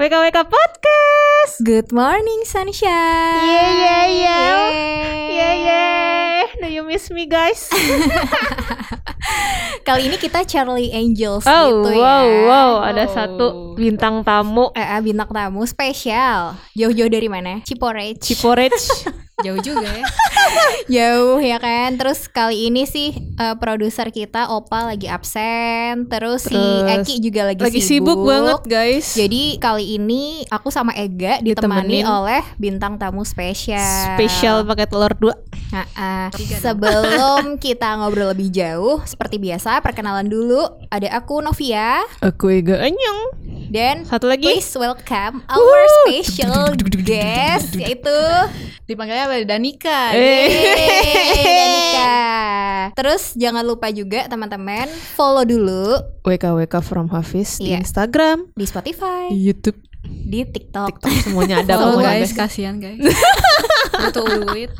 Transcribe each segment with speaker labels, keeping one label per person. Speaker 1: WKWK Podcast.
Speaker 2: Good morning sunshine.
Speaker 1: Yeah, yeah, yeah.
Speaker 2: Yeay.
Speaker 1: Yeah, yeah. Do you miss me guys?
Speaker 2: Gitu Kali ini kita Charlie Angels
Speaker 1: Oh,
Speaker 2: gitu ya.
Speaker 1: wow, wow. Ada
Speaker 2: Wow.
Speaker 1: satu bintang tamu
Speaker 2: Eh, eh, bintang tamu spesial. Jauh-jauh dari mana? Ciporec.
Speaker 1: Ciporec.
Speaker 2: Jauh juga ya. Jauh ya kan. Terus kali ini sih eh, produser kita Opa lagi absen, terus, si
Speaker 1: Terus
Speaker 2: Eki juga lagi,
Speaker 1: Lagi sibuk banget guys.
Speaker 2: Jadi kali ini aku sama Ega ditemani
Speaker 1: Ditemenin.
Speaker 2: oleh bintang tamu spesial.
Speaker 1: Spesial pakai telur dua.
Speaker 2: Nah, ah, sebelum kita ngobrol lebih jauh, seperti biasa perkenalan dulu. Ada aku Novia
Speaker 1: Aku Ega Anyong.
Speaker 2: dan
Speaker 1: Satu lagi.
Speaker 2: please welcome our special guest yaitu
Speaker 3: Dipanggilnya apa? Danika.
Speaker 2: Yeay, Danika. Terus jangan lupa juga teman-teman follow dulu
Speaker 1: WKWK from Hafiz di
Speaker 2: Iya.
Speaker 1: Instagram,
Speaker 2: di Spotify,
Speaker 1: di YouTube,
Speaker 2: di TikTok.
Speaker 1: TikTok semuanya ada
Speaker 3: Follow
Speaker 1: pokoknya,
Speaker 3: guys, kasihan guys. Butuh duit.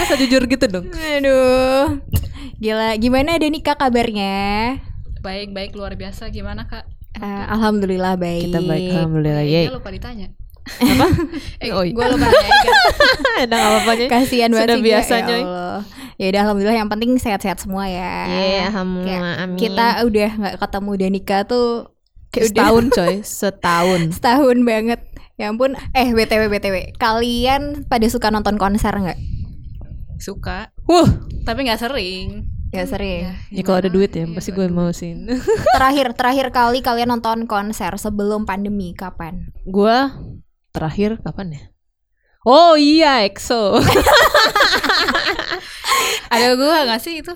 Speaker 1: Masa jujur gitu dong.
Speaker 2: Aduh. Gila, gimana Danika kabarnya?
Speaker 3: Baik-baik luar biasa gimana, Kak?
Speaker 2: Eh, alhamdulillah baik.
Speaker 1: Kita baik alhamdulillah.
Speaker 3: Iya
Speaker 1: Yeay.
Speaker 3: lupa ditanya.
Speaker 1: Apa?
Speaker 3: Eh,
Speaker 1: Eh. Oh, iya.
Speaker 3: gua lupa nanya.
Speaker 1: Ada apa-apanya.
Speaker 2: Kasihan banget
Speaker 1: Sudah
Speaker 2: sih gue,
Speaker 1: biasa,
Speaker 2: ya
Speaker 1: Coy.
Speaker 2: Allah. Ya udah alhamdulillah yang penting sehat-sehat semua ya.
Speaker 1: Iya, alhamdulillah. Amin.
Speaker 2: Kita udah nggak ketemu Danika tuh
Speaker 1: Kayak
Speaker 2: udah
Speaker 1: setahun coy, setahun.
Speaker 2: setahun banget. Ya ampun. Eh BTW BTW, kalian pada suka nonton konser nggak?
Speaker 3: Suka,
Speaker 1: Wah,
Speaker 3: tapi nggak sering.
Speaker 2: Ya sering.
Speaker 1: ya kalau ada duit ya
Speaker 3: Iya,
Speaker 1: pasti gue mau
Speaker 3: kalau
Speaker 1: sih.
Speaker 2: terakhir terakhir kali kalian nonton konser sebelum pandemi kapan?
Speaker 1: gue terakhir kapan ya? Oh iya, EXO.
Speaker 3: Ada gua nggak sih itu?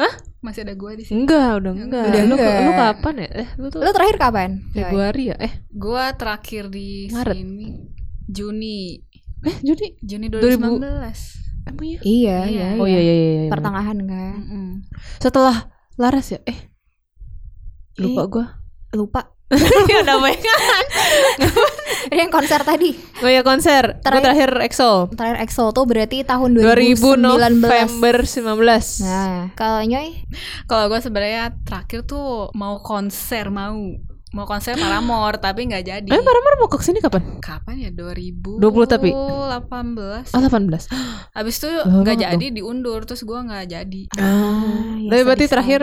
Speaker 3: Hah? Masih ada gua di sini.
Speaker 1: enggak, udah enggak.
Speaker 2: Udah
Speaker 1: lu,
Speaker 2: enggak.
Speaker 1: lu kapan ya? Eh, lu tuh
Speaker 2: Lu terakhir kapan? Joy?
Speaker 1: Februari ya? Eh,
Speaker 3: Gua terakhir di
Speaker 1: Maret.
Speaker 3: sini Juni.
Speaker 1: eh Juni.
Speaker 3: Juni
Speaker 1: 2000.
Speaker 3: 2019.
Speaker 1: Emang ya?
Speaker 2: Iya, iya.
Speaker 3: Iya.
Speaker 1: Oh iya iya iya. iya.
Speaker 2: Pertengahan kan?
Speaker 3: Mm-mm.
Speaker 1: Setelah Laras ya? Eh. Lupa gue.
Speaker 2: Lupa.
Speaker 1: ya namanya.
Speaker 2: Ada yang konser tadi.
Speaker 1: Oh iya konser. Gue
Speaker 2: Terakhir-
Speaker 1: terakhir EXO.
Speaker 2: Terakhir EXO tuh berarti tahun
Speaker 1: 2000
Speaker 2: 2019.
Speaker 1: November 19.
Speaker 2: Nah, kalau Nyoy
Speaker 3: Kalau gua sebenarnya terakhir tuh mau konser mau mau konser Paramore tapi nggak jadi.
Speaker 1: Eh, Paramore mau ke sini kapan?
Speaker 3: Kapan ya?
Speaker 1: 20
Speaker 3: 2000
Speaker 1: tapi?
Speaker 3: 18.
Speaker 1: Oh, 18.
Speaker 3: Abis itu
Speaker 1: Lama
Speaker 3: nggak
Speaker 1: banget
Speaker 3: jadi diundur terus gua nggak jadi.
Speaker 1: Ah,
Speaker 2: ya
Speaker 1: tapi berarti
Speaker 2: sedih
Speaker 1: terakhir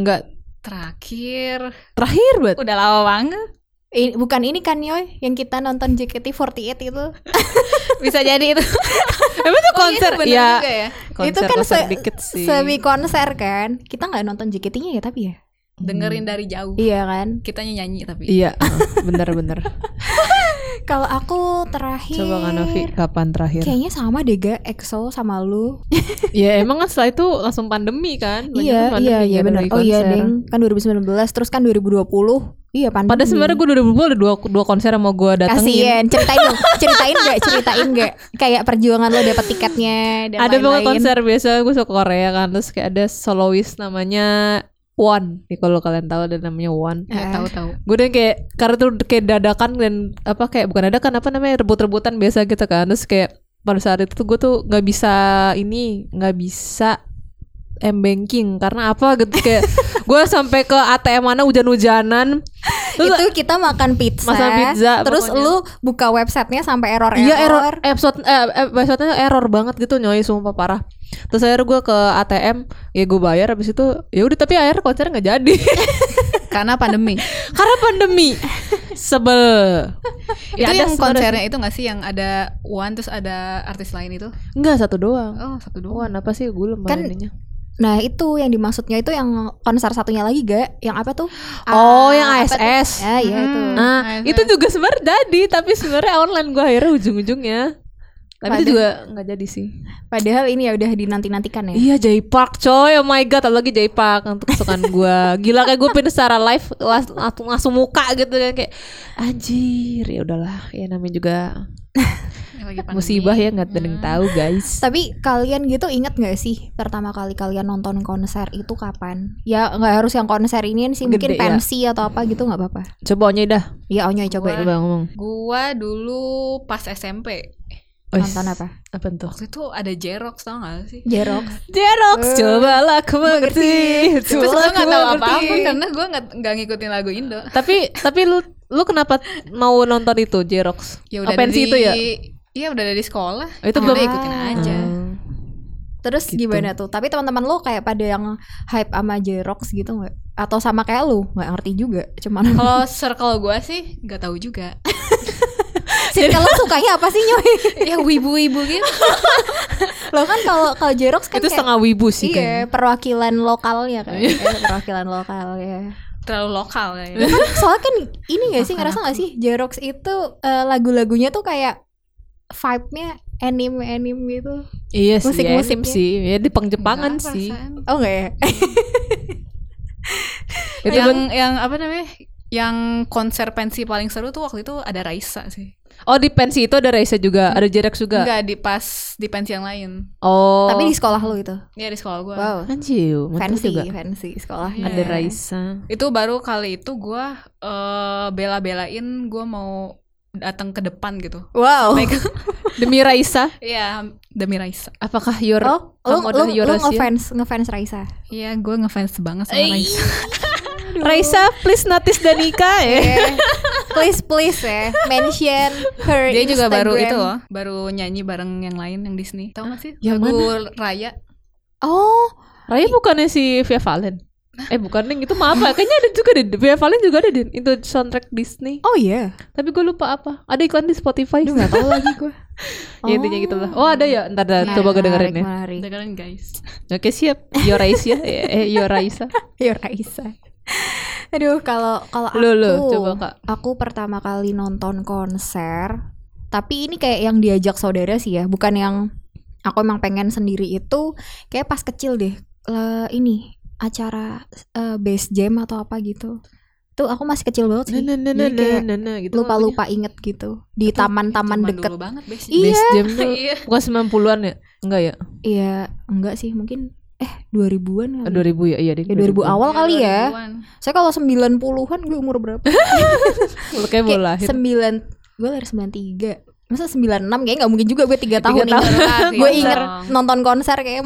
Speaker 1: nggak
Speaker 3: Terakhir
Speaker 1: terakhir buat
Speaker 3: udah lama banget.
Speaker 2: I- bukan ini kan Yoy yang kita nonton JKT48 itu
Speaker 3: Bisa jadi itu.
Speaker 1: emang
Speaker 2: Oh,
Speaker 1: tuh konser
Speaker 3: Bener
Speaker 1: ya
Speaker 3: juga ya.
Speaker 1: konser,
Speaker 2: iya, itu kan
Speaker 1: konser
Speaker 2: se-
Speaker 1: dikit sih
Speaker 2: semi konser kan kita nggak nonton JKT-nya ya tapi ya
Speaker 3: Dengerin dari jauh.
Speaker 2: iya kan
Speaker 3: Kitanya nyanyi tapi.
Speaker 1: Hmm. iya ah, bener-bener
Speaker 2: kalau aku terakhir
Speaker 1: coba kan Novi kapan terakhir
Speaker 2: kayaknya sama deh ga EXO sama lu
Speaker 1: ya emang kan setelah itu langsung pandemi kan Banyak kan
Speaker 2: iya
Speaker 1: pandemi,
Speaker 2: iya
Speaker 1: nggak
Speaker 2: iya
Speaker 1: ada
Speaker 2: benar
Speaker 1: lagi
Speaker 2: oh iya
Speaker 1: konser.
Speaker 2: deng kan 2019 terus kan 2020 iya pandemi
Speaker 1: pada sebenarnya gue udah dua dua dua konser yang mau gue datengin
Speaker 2: kasian ceritain dong ceritain nggak ceritain nggak kayak perjuangan lo dapet tiketnya dan
Speaker 1: ada banget
Speaker 2: lain-lain.
Speaker 1: konser biasa gue suka Korea kan terus kayak ada soloist namanya One nih kalau kalian tahu ada namanya One
Speaker 2: Eh.
Speaker 3: Ya, tahu-tahu.
Speaker 1: gue dan kayak karena tuh kayak dadakan dan apa kayak bukan dadakan apa namanya rebut-rebutan biasa gitu kan terus kayak pada saat itu tuh gue tuh nggak bisa ini nggak bisa m banking karena apa gitu kayak gue sampai ke ATM mana hujan-hujanan terus
Speaker 2: itu kita makan pizza,
Speaker 1: Makan pizza,
Speaker 2: terus
Speaker 1: pokoknya.
Speaker 2: lu buka websitenya sampai error error
Speaker 1: Iya error episode eh, episode error banget gitu nyoy sumpah parah. Terus akhirnya gue ke ATM, ya gue bayar habis itu ya udah tapi akhirnya konser nggak jadi
Speaker 3: Karena pandemi.
Speaker 1: karena pandemi. Sebel.
Speaker 3: itu
Speaker 1: ada
Speaker 3: yang
Speaker 1: sebenarnya
Speaker 3: konsernya itu nggak sih yang ada One terus ada artis lain itu?
Speaker 1: Enggak satu doang.
Speaker 3: Oh, satu dua.
Speaker 1: Wan apa sih gue lupa
Speaker 2: Kan-
Speaker 1: ininya.
Speaker 2: Nah itu yang dimaksudnya itu yang konser satunya lagi gak? Yang apa tuh?
Speaker 1: Oh,
Speaker 2: Ah,
Speaker 1: yang
Speaker 2: apa tuh?
Speaker 1: ASS.
Speaker 2: Ya iya itu.
Speaker 3: Hmm.
Speaker 1: Nah,
Speaker 3: ASS.
Speaker 1: itu juga sebenarnya jadi, tapi sebenarnya online gue akhirnya ujung-ujungnya. Tapi itu
Speaker 2: Padahal-
Speaker 1: juga nggak jadi sih.
Speaker 2: Padahal ini ya udah dinanti nantikan ya.
Speaker 1: Iya Jay Park coy, oh my god, apalagi Jay Park untuk kesukaan gue. Gila kayak gue pindah secara live las- langsung langsung muka gitu kan kayak anjir ya udahlah ya namanya juga
Speaker 3: Yang lagi pandemi. Hmm.
Speaker 1: musibah ya nggak ada yang tahu guys.
Speaker 2: Hmm. Tapi kalian gitu inget gak sih pertama kali kalian nonton konser itu kapan? Ya nggak harus yang konser ini sih, mungkin
Speaker 1: Gede, ya.
Speaker 2: pensi atau apa gitu nggak apa-apa.
Speaker 1: Coba onye dah,
Speaker 2: Ya onyoy coba
Speaker 1: coba ngomong.
Speaker 3: Gua dulu pas SMP.
Speaker 1: Wes,
Speaker 2: nonton apa?
Speaker 1: Apa tuh?
Speaker 3: Waktu itu ada Jerox tau gak sih?
Speaker 2: Jerok.
Speaker 1: Jerox,
Speaker 2: Hmm.
Speaker 1: cobalah aku mengerti.
Speaker 3: Terus gue
Speaker 1: cobalah aku
Speaker 3: gak tau
Speaker 2: kan,
Speaker 1: mengerti.
Speaker 3: apa-apa karena gue gak, ngikutin lagu Indo
Speaker 1: Tapi tapi lu Lu kenapa mau nonton itu Jerox?
Speaker 3: ya
Speaker 1: Oh, pensi itu ya?
Speaker 3: Iya udah dari sekolah.
Speaker 1: Oh, itu
Speaker 3: Ya
Speaker 1: belum-
Speaker 3: udah ikutin aja.
Speaker 1: Hmm.
Speaker 2: Terus
Speaker 1: Gitu.
Speaker 2: gimana tuh? Tapi teman-teman lu kayak pada yang hype sama Jerox gitu nggak? Atau sama kayak lu? Nggak ngerti juga. Cuman
Speaker 3: Kalau circle gua sih nggak tahu juga.
Speaker 2: circle lu sukanya apa sih Nyoy?
Speaker 3: ya wibu-wibu gitu.
Speaker 2: Lo kan kalau kalau Jerox kan
Speaker 1: itu
Speaker 2: kayak,
Speaker 1: setengah Iya. wibu sih
Speaker 2: iya,
Speaker 1: kayaknya.
Speaker 2: perwakilan lokalnya kan. Eh, perwakilan lokal ya.
Speaker 3: Terlalu lokal ya.
Speaker 2: Kan soalnya kan ini gak sih ngerasa gak sih Jerox itu eh, lagu-lagunya tuh kayak vibe-nya anime-anime gitu.
Speaker 1: Iya sih,
Speaker 2: Musik-musiknya.
Speaker 1: musik sih. Ya di Jepang-Jepangan sih.
Speaker 2: Oh enggak ya?
Speaker 1: Itu kan,
Speaker 3: yang
Speaker 1: gua-
Speaker 3: yang apa namanya? Yang konser pensi paling seru tuh waktu itu ada Raisa sih.
Speaker 1: Oh, di pensi itu ada Raisa juga, ada Jerox juga.
Speaker 3: Enggak di pas di pensi yang lain.
Speaker 1: Oh.
Speaker 2: Tapi di sekolah lu itu.
Speaker 3: Iya di sekolah gua.
Speaker 2: Wow.
Speaker 1: Anjir, mantap
Speaker 2: Fancy,
Speaker 1: juga.
Speaker 2: fancy sekolahnya.
Speaker 1: Ada Raisa.
Speaker 3: Itu baru kali itu gua eh, bela-belain gua mau datang ke depan gitu.
Speaker 2: Wow.
Speaker 3: Naik-
Speaker 1: Demi Raisa,
Speaker 3: Iya, demi Raisa.
Speaker 1: apakah your
Speaker 2: Oh, lu,
Speaker 1: kamu
Speaker 2: lu,
Speaker 1: adalah
Speaker 2: lu
Speaker 1: Eurasia?
Speaker 2: ngefans, ngefans Raisa.
Speaker 3: Iya, gua ngefans banget sama Raisa.
Speaker 1: Raisa, please notice Danika ya.
Speaker 2: Iya. Eh, please please ya, mention her
Speaker 3: Dia juga baru
Speaker 2: Instagram.
Speaker 3: itu loh, baru nyanyi bareng yang lain yang Disney. Tahu gak sih?
Speaker 1: Yang
Speaker 3: Lagu Raya.
Speaker 2: Oh,
Speaker 1: Raya bukannya si Via Valen? Eh bukan Ning, itu maaf ya. Kayaknya ada juga deh. Via Valen juga ada deh. Itu soundtrack Disney.
Speaker 2: oh iya.
Speaker 1: Tapi gue lupa apa. Ada iklan di Spotify.
Speaker 2: Aduh nggak tahu lagi gue.
Speaker 1: Ya, intinya gitu lah. Oh ada ya. Ntar dah,
Speaker 2: Nah,
Speaker 1: coba gue dengerin ya.
Speaker 3: Dengerin guys.
Speaker 1: Oke siap. Your Raisa. eh, your Raisa.
Speaker 2: Ya Raisa. Aduh, kalau kalau aku,
Speaker 1: Lu, lu, coba, Kak.
Speaker 2: aku pertama kali nonton konser, tapi ini kayak yang diajak saudara sih ya, bukan yang aku emang pengen sendiri itu, kayak pas kecil deh, Le- ini acara eh, base jam atau apa gitu. Tuh aku masih kecil banget sih,
Speaker 1: Na, na, na,
Speaker 2: Jadi kayak
Speaker 1: na, na, na, gitu
Speaker 2: lupa-lupa inget gitu di taman-taman
Speaker 3: Zaman
Speaker 2: deket.
Speaker 3: dulu banget basic.
Speaker 1: Iya. Best jam tuh
Speaker 3: Iya.
Speaker 1: bukan 90-an ya? Enggak ya?
Speaker 2: Iya, enggak sih, mungkin eh 2000-an kali.
Speaker 1: 2000 ya? Iya deh.
Speaker 2: Ya, 2000 awal
Speaker 3: Iya,
Speaker 2: kali ya.
Speaker 3: 2000-an.
Speaker 2: Saya kalau 90-an gue umur berapa?
Speaker 1: Lu kayak mau
Speaker 2: kayak
Speaker 1: lahir.
Speaker 2: sembilan gue lahir sembilan tiga masa sembilan enam kayaknya nggak mungkin juga gue tiga tahun
Speaker 1: tahun.
Speaker 2: ingat
Speaker 3: Jelas,
Speaker 2: gue
Speaker 3: iya
Speaker 2: inget
Speaker 3: dong.
Speaker 2: nonton konser kayak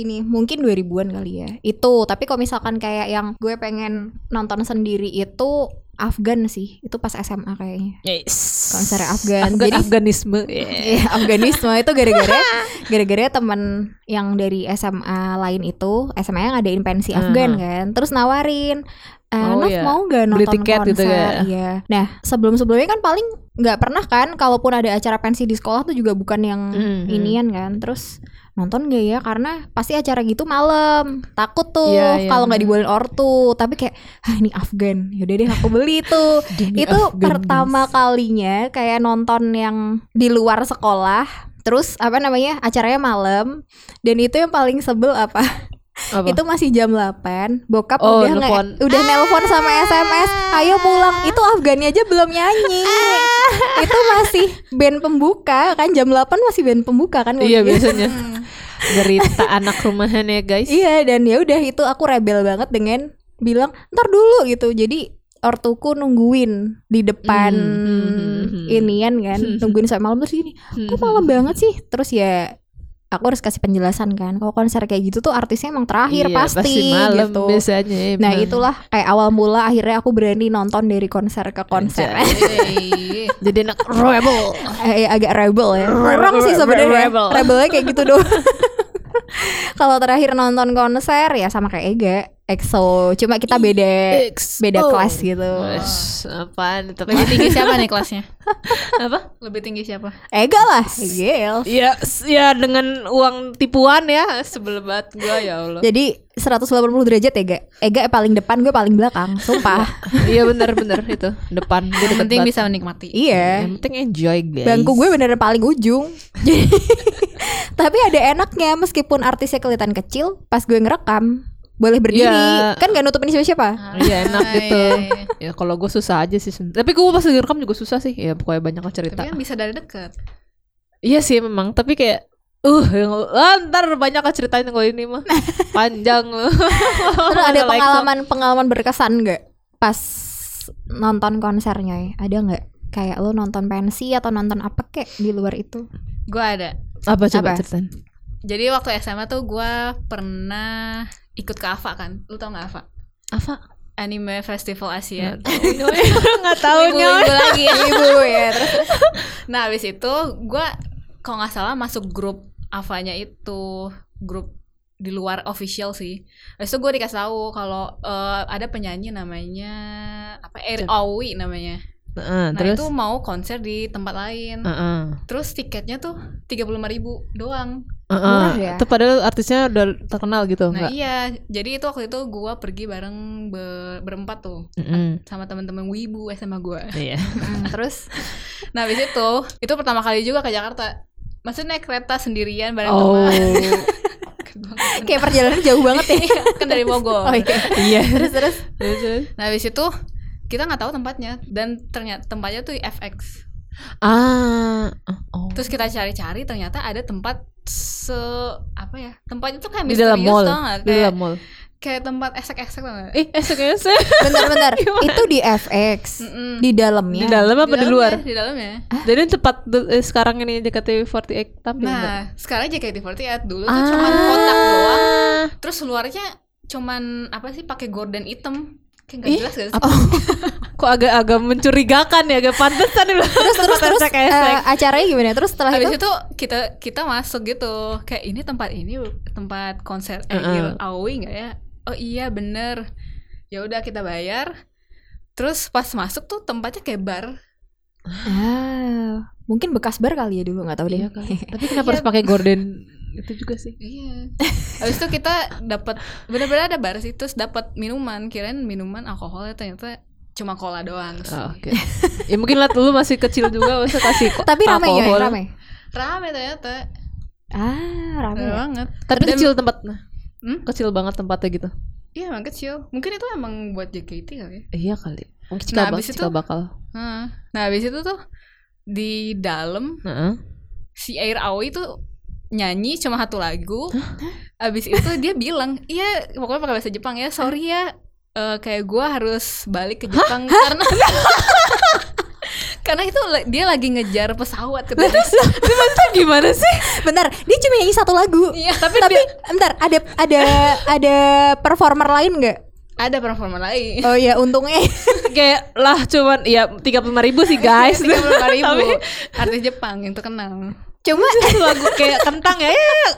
Speaker 2: ini mungkin 2000-an kali ya itu tapi kalau misalkan kayak yang gue pengen nonton sendiri itu Afgan sih itu pas SMA kayaknya
Speaker 1: Yes.
Speaker 2: konser Afgan.
Speaker 1: Afgan
Speaker 2: Jadi-
Speaker 1: Afganisme. Eh,
Speaker 2: Eh, Afganisme itu gara-gara gara-gara temen yang dari SMA lain itu SMA yang ngadain pensi Afgan kan terus nawarin eh,
Speaker 1: Oh,
Speaker 2: Naf
Speaker 1: iya.
Speaker 2: mau gak
Speaker 1: Beli
Speaker 2: nonton
Speaker 1: tiket
Speaker 2: konser
Speaker 1: gitu ya.
Speaker 2: Iya. nah sebelum-sebelumnya kan paling nggak pernah kan kalaupun ada acara pensi di sekolah tuh juga bukan yang
Speaker 1: Mhm.
Speaker 2: inian kan terus nonton gak ya karena pasti acara gitu malam takut tuh
Speaker 1: Iya, iya.
Speaker 2: kalau nggak dibolehin ortu tapi kayak ah ini Afgan yaudah deh aku beli tuh
Speaker 1: Demi
Speaker 2: itu
Speaker 1: Afgan,
Speaker 2: pertama kalinya kayak nonton yang di luar sekolah terus apa namanya acaranya malam dan itu yang paling sebel apa,
Speaker 1: Apa?
Speaker 2: itu masih jam 8 bokap
Speaker 1: Oh,
Speaker 2: udah nge-
Speaker 1: nelpon. Ah!
Speaker 2: udah nelpon sama SMS ayo pulang itu Afgani aja belum nyanyi
Speaker 1: Ah!
Speaker 2: itu masih band pembuka kan jam 8 masih band pembuka kan
Speaker 1: Iya
Speaker 2: ngomongnya.
Speaker 1: biasanya. Derita anak rumahan ya guys.
Speaker 2: Iya dan ya udah itu aku rebel banget dengan bilang ntar dulu gitu. Jadi ortuku nungguin di depan
Speaker 1: Hmm, hmm, hmm.
Speaker 2: inian kan, nungguin sampai malam terus gini. Kok malam banget sih? Terus ya aku harus kasih penjelasan kan. Kalau konser kayak gitu tuh artisnya emang terakhir
Speaker 1: Iya,
Speaker 2: pasti,
Speaker 1: malam
Speaker 2: gitu.
Speaker 1: biasanya. iya, emang.
Speaker 2: Nah itulah kayak awal mula akhirnya aku berani nonton dari konser ke konser
Speaker 3: Yeay.
Speaker 1: Iya. Jadi anak rebel.
Speaker 2: Eh, agak rebel ya kurang sih sebenarnya
Speaker 1: Rebel.
Speaker 2: rebelnya kayak gitu doang kalau terakhir nonton konser ya sama kayak Ega EXO cuma kita beda beda
Speaker 1: Oh.
Speaker 2: kelas gitu
Speaker 1: Wes, apaan? Tapi
Speaker 3: Lebih tinggi siapa nih kelasnya?
Speaker 1: apa?
Speaker 3: Lebih tinggi siapa?
Speaker 2: Ega lah Egel
Speaker 1: Ya, s- ya dengan uang tipuan ya sebel banget gua ya Allah.
Speaker 2: jadi 180 derajat Ega Ega paling depan gue paling belakang sumpah
Speaker 1: Iya benar-benar itu depan. Gua
Speaker 3: Yang
Speaker 1: deket
Speaker 3: penting
Speaker 1: banget.
Speaker 3: bisa menikmati.
Speaker 2: iya
Speaker 1: Yang penting enjoy guys.
Speaker 2: bangku gue beneran paling ujung Jadi- tapi ada enaknya meskipun artisnya kelihatan kecil pas gue ngerekam boleh berdiri
Speaker 1: Iya.
Speaker 2: kan gak nutupin siapa siapa
Speaker 1: Iya enak
Speaker 3: Ah,
Speaker 1: gitu.
Speaker 3: iya, iya.
Speaker 1: Ya kalau gue susah aja sih. sebenernya. Tapi gue pas lagi rekam juga susah sih. Ya pokoknya banyak lah cerita.
Speaker 3: Tapi kan bisa dari deket.
Speaker 1: Iya sih memang, tapi kayak uh yang ah, ntar banyak lah ceritain kalau ini mah panjang loh.
Speaker 2: Terus ada pengalaman pengalaman berkesan nggak pas nonton konsernya? Ada nggak? Kayak lo nonton pensi atau nonton apa kek di luar itu?
Speaker 3: Gue ada.
Speaker 1: apa coba
Speaker 2: Apa?
Speaker 1: ceritain?
Speaker 3: Jadi waktu SMA tuh gue pernah ikut ke AFA kan. Lu tau gak AFA?
Speaker 1: Apa?
Speaker 3: anime festival Asia.
Speaker 1: nggak tahu Nyoy.
Speaker 2: Minggu lagi ibu ya. Terus
Speaker 3: Nah, habis itu gua kalau nggak salah masuk grup Avanya itu, grup di luar official sih. Habis itu gue dikasih tahu kalau eh, ada penyanyi namanya apa Eri Owi namanya.
Speaker 1: Heeh,
Speaker 3: Nah,
Speaker 1: Ah, terus Ah.
Speaker 3: itu mau konser di tempat lain.
Speaker 1: Heeh.
Speaker 3: Terus tiketnya tuh 35.000 ribu doang.
Speaker 1: Heeh.
Speaker 2: ya.
Speaker 1: Itu padahal artisnya udah terkenal gitu, enggak?
Speaker 3: Nah iya, jadi itu waktu itu gua pergi bareng ber- berempat tuh sama teman-teman Wibu SMA gua.
Speaker 1: Iya.
Speaker 2: Mm, terus
Speaker 3: Nah habis itu, itu pertama kali juga ke Jakarta. Maksudnya naik kereta sendirian bareng
Speaker 1: Oh.
Speaker 3: teman.
Speaker 2: kayak perjalanan jauh banget ya.
Speaker 3: kan dari Bogor.
Speaker 2: Oh iya.
Speaker 1: Iya.
Speaker 2: Terus terus
Speaker 1: Terus, terus.
Speaker 3: Nah habis itu kita nggak tahu tempatnya dan ternyata tempatnya tuh FX.
Speaker 1: Ah. Oh.
Speaker 3: Terus kita cari-cari ternyata ada tempat se apa ya? Tempatnya tuh kayak
Speaker 1: Di dalam
Speaker 3: misterius
Speaker 1: mall.
Speaker 3: tau nggak?
Speaker 1: Di
Speaker 3: Kayak,
Speaker 1: dalam mall.
Speaker 3: kayak tempat esek-esek tau nggak?
Speaker 1: Eh, esok-esok.
Speaker 2: bentar-bentar. itu di FX.
Speaker 3: Mm-mm.
Speaker 2: Di dalamnya.
Speaker 1: Di dalam apa di
Speaker 3: dalamnya,
Speaker 1: luar? Ah,
Speaker 3: Di ya. dalamnya.
Speaker 1: Jadi tempat de- eh, sekarang ini JKT48 tampil enggak?
Speaker 3: Nah, sekarang JKT48 dulu
Speaker 1: Ah.
Speaker 3: tuh cuman kotak doang. Terus luarnya cuman apa sih pakai gorden hitam. Kayak nggak
Speaker 1: Ih,
Speaker 3: jelas gak sih?
Speaker 1: apa? Kok agak-agak mencurigakan ya, agak pantesan dulu.
Speaker 2: Terus terus terus eh, acaranya gimana? Terus setelah
Speaker 3: Habis
Speaker 2: itu
Speaker 3: itu kita kita masuk gitu. Kayak ini tempat ini tempat konser eh
Speaker 1: Heeh.
Speaker 3: Gil Awi nggak ya? Oh iya bener. Ya udah kita bayar. Terus pas masuk tuh tempatnya kayak bar.
Speaker 2: Ah, mungkin bekas bar kali ya dulu nggak tahu deh.
Speaker 1: Iya kali. Tapi kenapa harus pakai gorden itu juga sih?
Speaker 3: Iya. Habis itu kita dapat bener-bener ada bar sih terus dapat minuman. Kirain minuman alkoholnya ternyata cuma cola doang. sih.
Speaker 1: Oh, Oke. ya mungkin lah dulu masih kecil juga masa kasih ko-
Speaker 2: Tapi rame ya,
Speaker 1: alkohol.
Speaker 2: rame.
Speaker 3: Rame ternyata.
Speaker 2: Ah, rame.
Speaker 3: Rame
Speaker 2: ya?
Speaker 3: banget.
Speaker 1: Tapi
Speaker 3: Dan-
Speaker 1: kecil tempatnya.
Speaker 3: Hmm?
Speaker 1: Kecil banget tempatnya gitu.
Speaker 3: Iya emang kecil. Mungkin itu emang buat JKT kali ya.
Speaker 1: Iya kali. Mungkin
Speaker 3: Nah,
Speaker 1: nah,
Speaker 3: abis
Speaker 1: bakal
Speaker 3: itu-
Speaker 1: bakal.
Speaker 3: Heeh. Nah habis itu tuh di dalam
Speaker 1: Heeh.
Speaker 3: si Air Aoi tuh nyanyi cuma satu lagu. Habis itu dia bilang, "Iya, pokoknya pakai bahasa Jepang ya. Sorry ya. eh, kayak gua harus balik ke Jepang karena Karena itu la- dia lagi ngejar pesawat ke
Speaker 1: gimana sih?
Speaker 2: Bentar, dia cuma nyanyi satu lagu.
Speaker 3: Iya,
Speaker 2: tapi bentar, ada ada ada performer lain nggak?
Speaker 3: Ada performa lain.
Speaker 2: Oh ya, untungnya.
Speaker 1: Kayak lah cuman ya 35 ribu sih guys. Tapi
Speaker 3: ribu artis Jepang yang terkenal.
Speaker 2: Cuma
Speaker 1: itu lagu kayak kentang ya. ya, ya.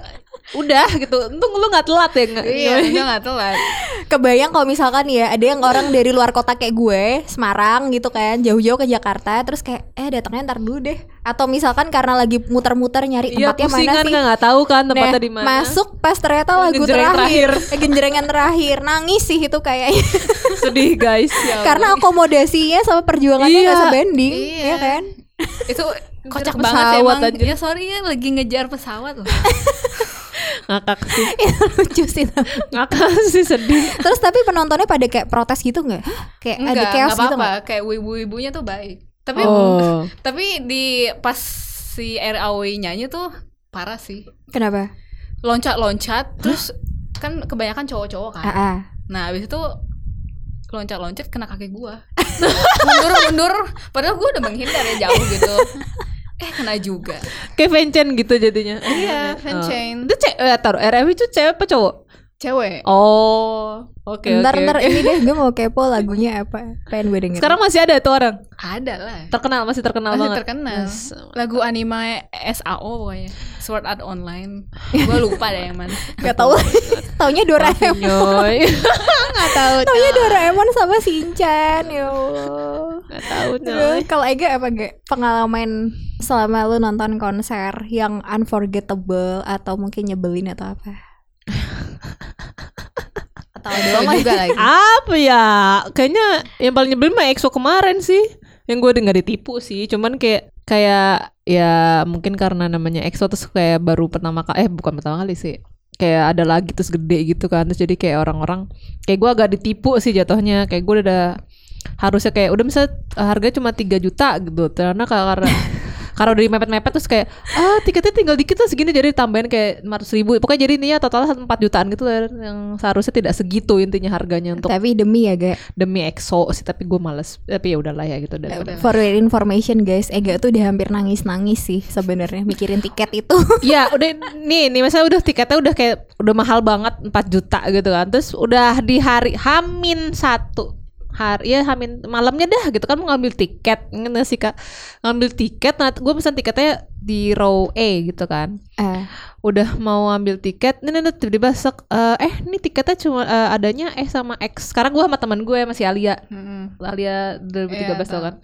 Speaker 1: Udah gitu. Untung lu gak telat ya nggak?
Speaker 3: Iya, udah nggak telat.
Speaker 2: kebayang kalau misalkan ya ada yang orang dari luar kota kayak gue, Semarang gitu kan, jauh-jauh ke Jakarta, terus kayak eh datangnya ntar dulu deh. Atau misalkan karena lagi muter-muter nyari
Speaker 1: Iya
Speaker 2: tempatnya
Speaker 1: pusing
Speaker 2: mana
Speaker 1: kan
Speaker 2: sih?
Speaker 1: nggak tahu kan tempatnya
Speaker 2: Nah,
Speaker 1: di mana.
Speaker 2: Masuk pas ternyata lagu
Speaker 1: Genjreng
Speaker 2: terakhir, Eh, genjrengan terakhir, nangis sih itu kayaknya.
Speaker 1: Sedih guys. Ya Allah.
Speaker 2: Karena akomodasinya sama perjuangannya
Speaker 1: Iya.
Speaker 2: nggak sebanding,
Speaker 3: Iya.
Speaker 2: ya kan?
Speaker 3: Itu
Speaker 1: Ngejar
Speaker 3: kocak banget sih
Speaker 1: pesawat
Speaker 3: emang.
Speaker 1: aja.
Speaker 3: Ya sorry ya lagi ngejar pesawat loh.
Speaker 1: ngakak sih.
Speaker 2: Itu lucu sih. tapi.
Speaker 1: Ngakak sih sedih.
Speaker 2: Terus tapi penontonnya pada kayak protes gitu nggak? Hah? Kayak ada
Speaker 3: Enggak,
Speaker 2: chaos
Speaker 3: enggak
Speaker 2: gitu
Speaker 3: apa-apa.
Speaker 2: nggak?
Speaker 3: Kayak wibu-wibunya tuh baik. Tapi
Speaker 1: Oh.
Speaker 3: tapi di pas si RAW nyanyi tuh parah sih.
Speaker 2: Kenapa?
Speaker 3: Loncat-loncat terus kan kebanyakan cowok-cowok kan.
Speaker 2: Ah, ah.
Speaker 3: Nah, habis itu loncat-loncat kena kaki gua. Mundur-mundur padahal gua udah menghindar ya jauh gitu. Eh kena juga.
Speaker 1: Kayak Vincent gitu jadinya.
Speaker 3: Iya,
Speaker 1: Oh.
Speaker 3: fan chain.
Speaker 1: Itu cewek eh, taruh RFW itu cewek apa cowok?
Speaker 3: Cewek.
Speaker 1: Oh, oke oke.
Speaker 2: ntar
Speaker 1: oke.
Speaker 2: ntar ini deh gue mau kepo lagunya apa pengen gue dengerin
Speaker 1: Sekarang masih ada tuh orang.
Speaker 3: Ada lah.
Speaker 1: Terkenal, masih terkenal
Speaker 3: Masih
Speaker 1: banget.
Speaker 3: terkenal.
Speaker 1: Yes.
Speaker 3: Lagu anime SAO pokoknya. Sword Art Online. Gua lupa deh yang mana.
Speaker 2: nggak tahu taunya Doraemon
Speaker 1: Nyoy.
Speaker 3: Enggak tahu.
Speaker 2: taunya Doraemon sama Shinchan ya Allah
Speaker 1: Nggak tahu Nyoy.
Speaker 2: Terus kalau Ega apa Ega? Pengalaman selama lu nonton konser yang unforgettable atau mungkin nyebelin atau apa? atau ada
Speaker 3: Tahu juga lagi.
Speaker 1: Apa ya? Kayaknya yang paling nyebelin mah EXO kemarin sih. Yang gue dengar ditipu sih, cuman kayak kayak ya mungkin karena namanya EXO terus kayak baru pertama kali eh bukan pertama kali sih. Kayak ada lagi terus gede gitu kan. Terus jadi kayak orang-orang kayak gue agak ditipu sih jatuhnya. Kayak gue udah harusnya kayak udah misalnya harganya cuma 3 juta gitu. Karena karena karena udah mepet-mepet terus kayak ah tiketnya tinggal dikit lah segini jadi tambahin kayak 500 ribu pokoknya jadi intinya totalnya 4 jutaan gitu lah, yang seharusnya tidak segitu intinya harganya untuk
Speaker 2: Tapi demi ya, guys.
Speaker 1: demi EXO sih tapi gue males tapi ya udahlah ya gitu
Speaker 3: Ya
Speaker 1: daripada
Speaker 3: udah.
Speaker 2: For your information guys, Ega tuh udah hampir nangis-nangis sih sebenarnya mikirin tiket itu.
Speaker 1: ya udah nih nih misalnya udah tiketnya udah kayak udah mahal banget 4 juta gitu kan terus udah di hari Hamin satu hari ya Hamin malamnya dah gitu kan mau ngambil tiket nggak sih kak ngambil tiket nah gue pesan tiketnya di row A gitu kan
Speaker 2: Eh,
Speaker 1: udah mau ambil tiket nih nih nih, tiba-tiba sek eh, eh ini tiketnya cuma eh, adanya eh sama X sekarang gue sama teman gue masih Alia
Speaker 3: Mm-mm.
Speaker 1: Alia 2013
Speaker 3: Iya,
Speaker 1: tau
Speaker 3: tahu.
Speaker 1: kan.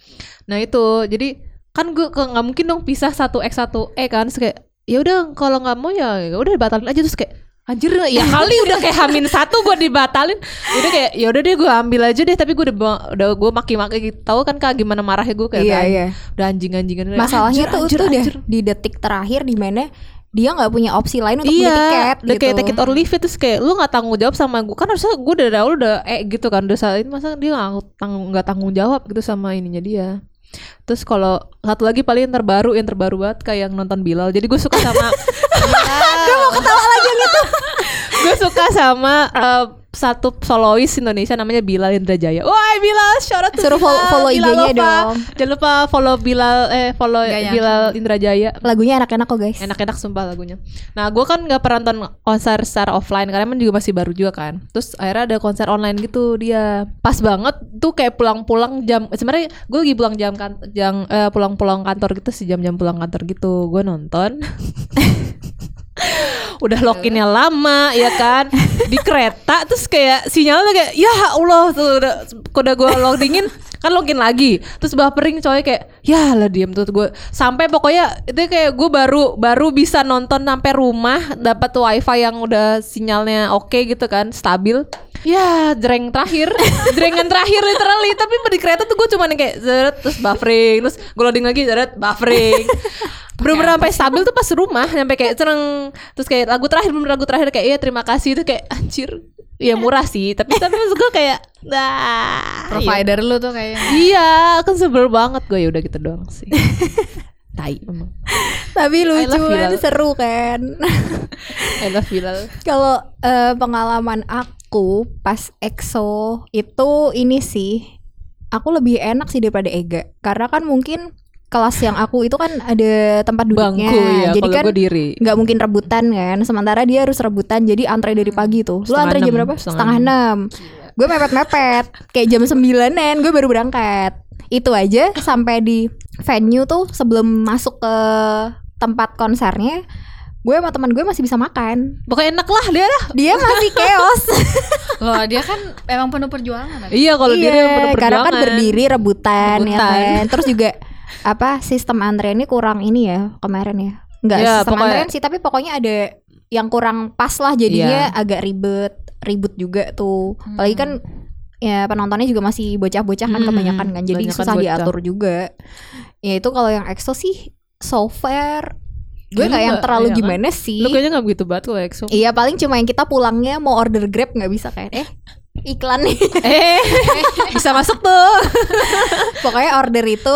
Speaker 1: Nah itu jadi kan gue ke- nggak mungkin dong pisah satu X satu E kan Terus kayak ya udah kalau nggak mau ya udah dibatalin aja terus kayak anjir ya kali udah kayak hamin satu gue dibatalin udah kayak ya udah deh gue ambil aja deh tapi gue udah ba- udah gue maki-maki gitu tahu kan kak gimana marahnya gue kayak
Speaker 2: iya
Speaker 1: kan,
Speaker 2: iya.
Speaker 1: udah anjing-anjingan Anjir,
Speaker 2: Masalahnya tuh
Speaker 1: anjir,
Speaker 2: itu udah
Speaker 1: anjir.
Speaker 2: di detik terakhir di mana dia nggak punya opsi lain untuk
Speaker 1: iya,
Speaker 2: beli
Speaker 1: udah
Speaker 2: tiket gitu.
Speaker 1: kayak take it or leave it terus kayak lu nggak tanggung jawab sama gue kan harusnya gue dari awal udah eh gitu kan udah saat ini masa dia nggak tanggung nggak tanggung jawab gitu sama ininya dia terus kalau satu lagi paling yang terbaru yang terbaru banget kayak yang nonton Bilal jadi gue suka sama gue mau ketawa lagi gitu gue suka sama eh, satu solois Indonesia namanya Bilal Indrajaya woi Bilal shout out to
Speaker 2: Suruh follow-
Speaker 1: Bilal,
Speaker 2: follow
Speaker 1: Bilal
Speaker 2: IG-nya
Speaker 1: Lova.
Speaker 2: dong.
Speaker 1: jangan lupa follow Bilal eh follow
Speaker 3: Gaya.
Speaker 1: Bilal Indrajaya
Speaker 2: Lagunya enak-enak kok guys.
Speaker 1: enak-enak sumpah lagunya. Nah, gue kan nggak pernah nonton konser secara offline karena emang juga masih baru juga kan. Terus akhirnya ada konser online gitu dia. Pas banget tuh kayak pulang-pulang jam. Sebenarnya gue lagi pulang jam kan, jam eh, pulang-pulang kantor gitu sih jam-jam pulang kantor gitu. Gue nonton. udah loginnya lama ya kan di kereta terus kayak sinyalnya kayak ya Allah tuh udah udah gue login kan login lagi terus baperin coy kayak ya lah diem tuh gue sampai pokoknya itu kayak gue baru baru bisa nonton sampai rumah dapat wifi yang udah sinyalnya oke gitu kan stabil ya jreng terakhir jrengan terakhir literally tapi di kereta tuh gue cuman yang kayak zeret terus buffering terus gue loading lagi zeret buffering bener-bener sampai stabil tuh pas rumah sampai kayak cereng terus kayak lagu terakhir bener lagu terakhir kayak iya terima kasih itu kayak anjir ya murah sih tapi tapi maksud gue kayak nah
Speaker 3: Provider lu tuh kayaknya.
Speaker 1: iya kan sebel banget gue ya udah gitu doang sih tai emang
Speaker 2: Tapi lucu
Speaker 1: love
Speaker 2: kan
Speaker 1: Bilal.
Speaker 2: seru kan.
Speaker 1: I love Bilal
Speaker 2: Kalau eh, pengalaman aku pas EXO itu ini sih aku lebih enak sih daripada Ega karena kan mungkin kelas yang aku itu kan ada tempat duduknya.
Speaker 1: bangku ya
Speaker 2: Jadi
Speaker 1: kalau
Speaker 2: kan
Speaker 1: gue diri
Speaker 2: nggak mungkin rebutan kan sementara dia harus rebutan jadi antre dari pagi tuh lu
Speaker 1: Hmm. Setengah
Speaker 2: antre jam
Speaker 1: enam,
Speaker 2: berapa
Speaker 1: setengah
Speaker 2: setengah enam gue mepet mepet kayak jam sembilanan gue baru berangkat itu aja sampai di venue tuh sebelum masuk ke tempat konsernya gue sama teman gue masih bisa makan
Speaker 1: pokoknya enak lah dia lah
Speaker 2: dia masih chaos
Speaker 3: Loh, dia kan emang penuh perjuangan. Abi.
Speaker 1: iya kalau diri yang
Speaker 2: iya,
Speaker 1: penuh
Speaker 2: karena kan
Speaker 1: perjuangan.
Speaker 2: berdiri rebutan, ya
Speaker 1: Rebutan.
Speaker 2: kan terus juga apa sistem antreannya kurang ini ya kemarin ya nggak
Speaker 1: Ya,
Speaker 2: sistem
Speaker 1: pokoknya-
Speaker 2: antrean sih tapi pokoknya ada yang kurang pas lah jadinya
Speaker 1: Iya.
Speaker 2: agak ribet ribut juga tuh apalagi kan ya penontonnya juga masih bocah-bocah kan
Speaker 1: Hmm,
Speaker 2: kebanyakan kan jadi
Speaker 1: kebanyakan
Speaker 2: susah
Speaker 1: bocah.
Speaker 2: diatur juga ya itu kalau yang EXO sih so far gue nggak yang
Speaker 1: Gila,
Speaker 2: terlalu
Speaker 1: iya kan?
Speaker 2: gimana sih
Speaker 1: lu kayaknya nggak begitu banget kalau EXO
Speaker 2: iya paling cuma yang kita pulangnya mau order grab nggak bisa kan eh iklan nih
Speaker 1: eh bisa masuk tuh
Speaker 2: Pokoknya order itu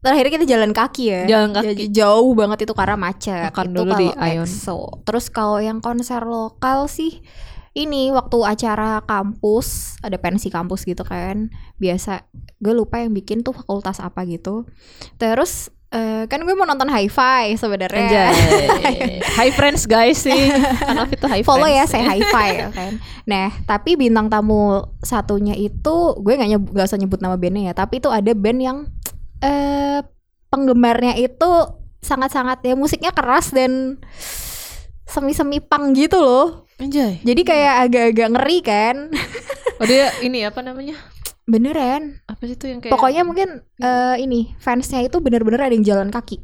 Speaker 2: terakhir kita jalan kaki ya.
Speaker 1: Jalan kaki.
Speaker 2: Jadi Jauh banget itu karena macet.
Speaker 1: Makan
Speaker 2: itu
Speaker 1: dulu
Speaker 2: kalau
Speaker 1: di Ion.
Speaker 2: EXO. Terus kalau yang konser lokal sih ini waktu acara kampus, ada pensi kampus gitu kan. Biasa gue lupa yang bikin tuh fakultas apa gitu. Terus eh, kan gue mau nonton hi-fi sebenarnya.
Speaker 1: Anjay. Hi friends guys sih. Karena itu hi
Speaker 2: follow ya
Speaker 1: friends.
Speaker 2: saya hi-fi ya kan. Nah, tapi bintang tamu satunya itu gue nggak nyebut nggak usah nyebut nama bandnya ya, tapi itu ada band yang eh penggemarnya itu sangat-sangat ya musiknya keras dan semi-semi pang gitu loh.
Speaker 1: Anjay.
Speaker 2: Jadi kayak agak-agak ngeri kan.
Speaker 1: Oh dia ini apa namanya?
Speaker 2: Beneran.
Speaker 1: Apa sih itu yang kayak
Speaker 2: Pokoknya mungkin eh ini fansnya itu bener-bener ada yang jalan kaki.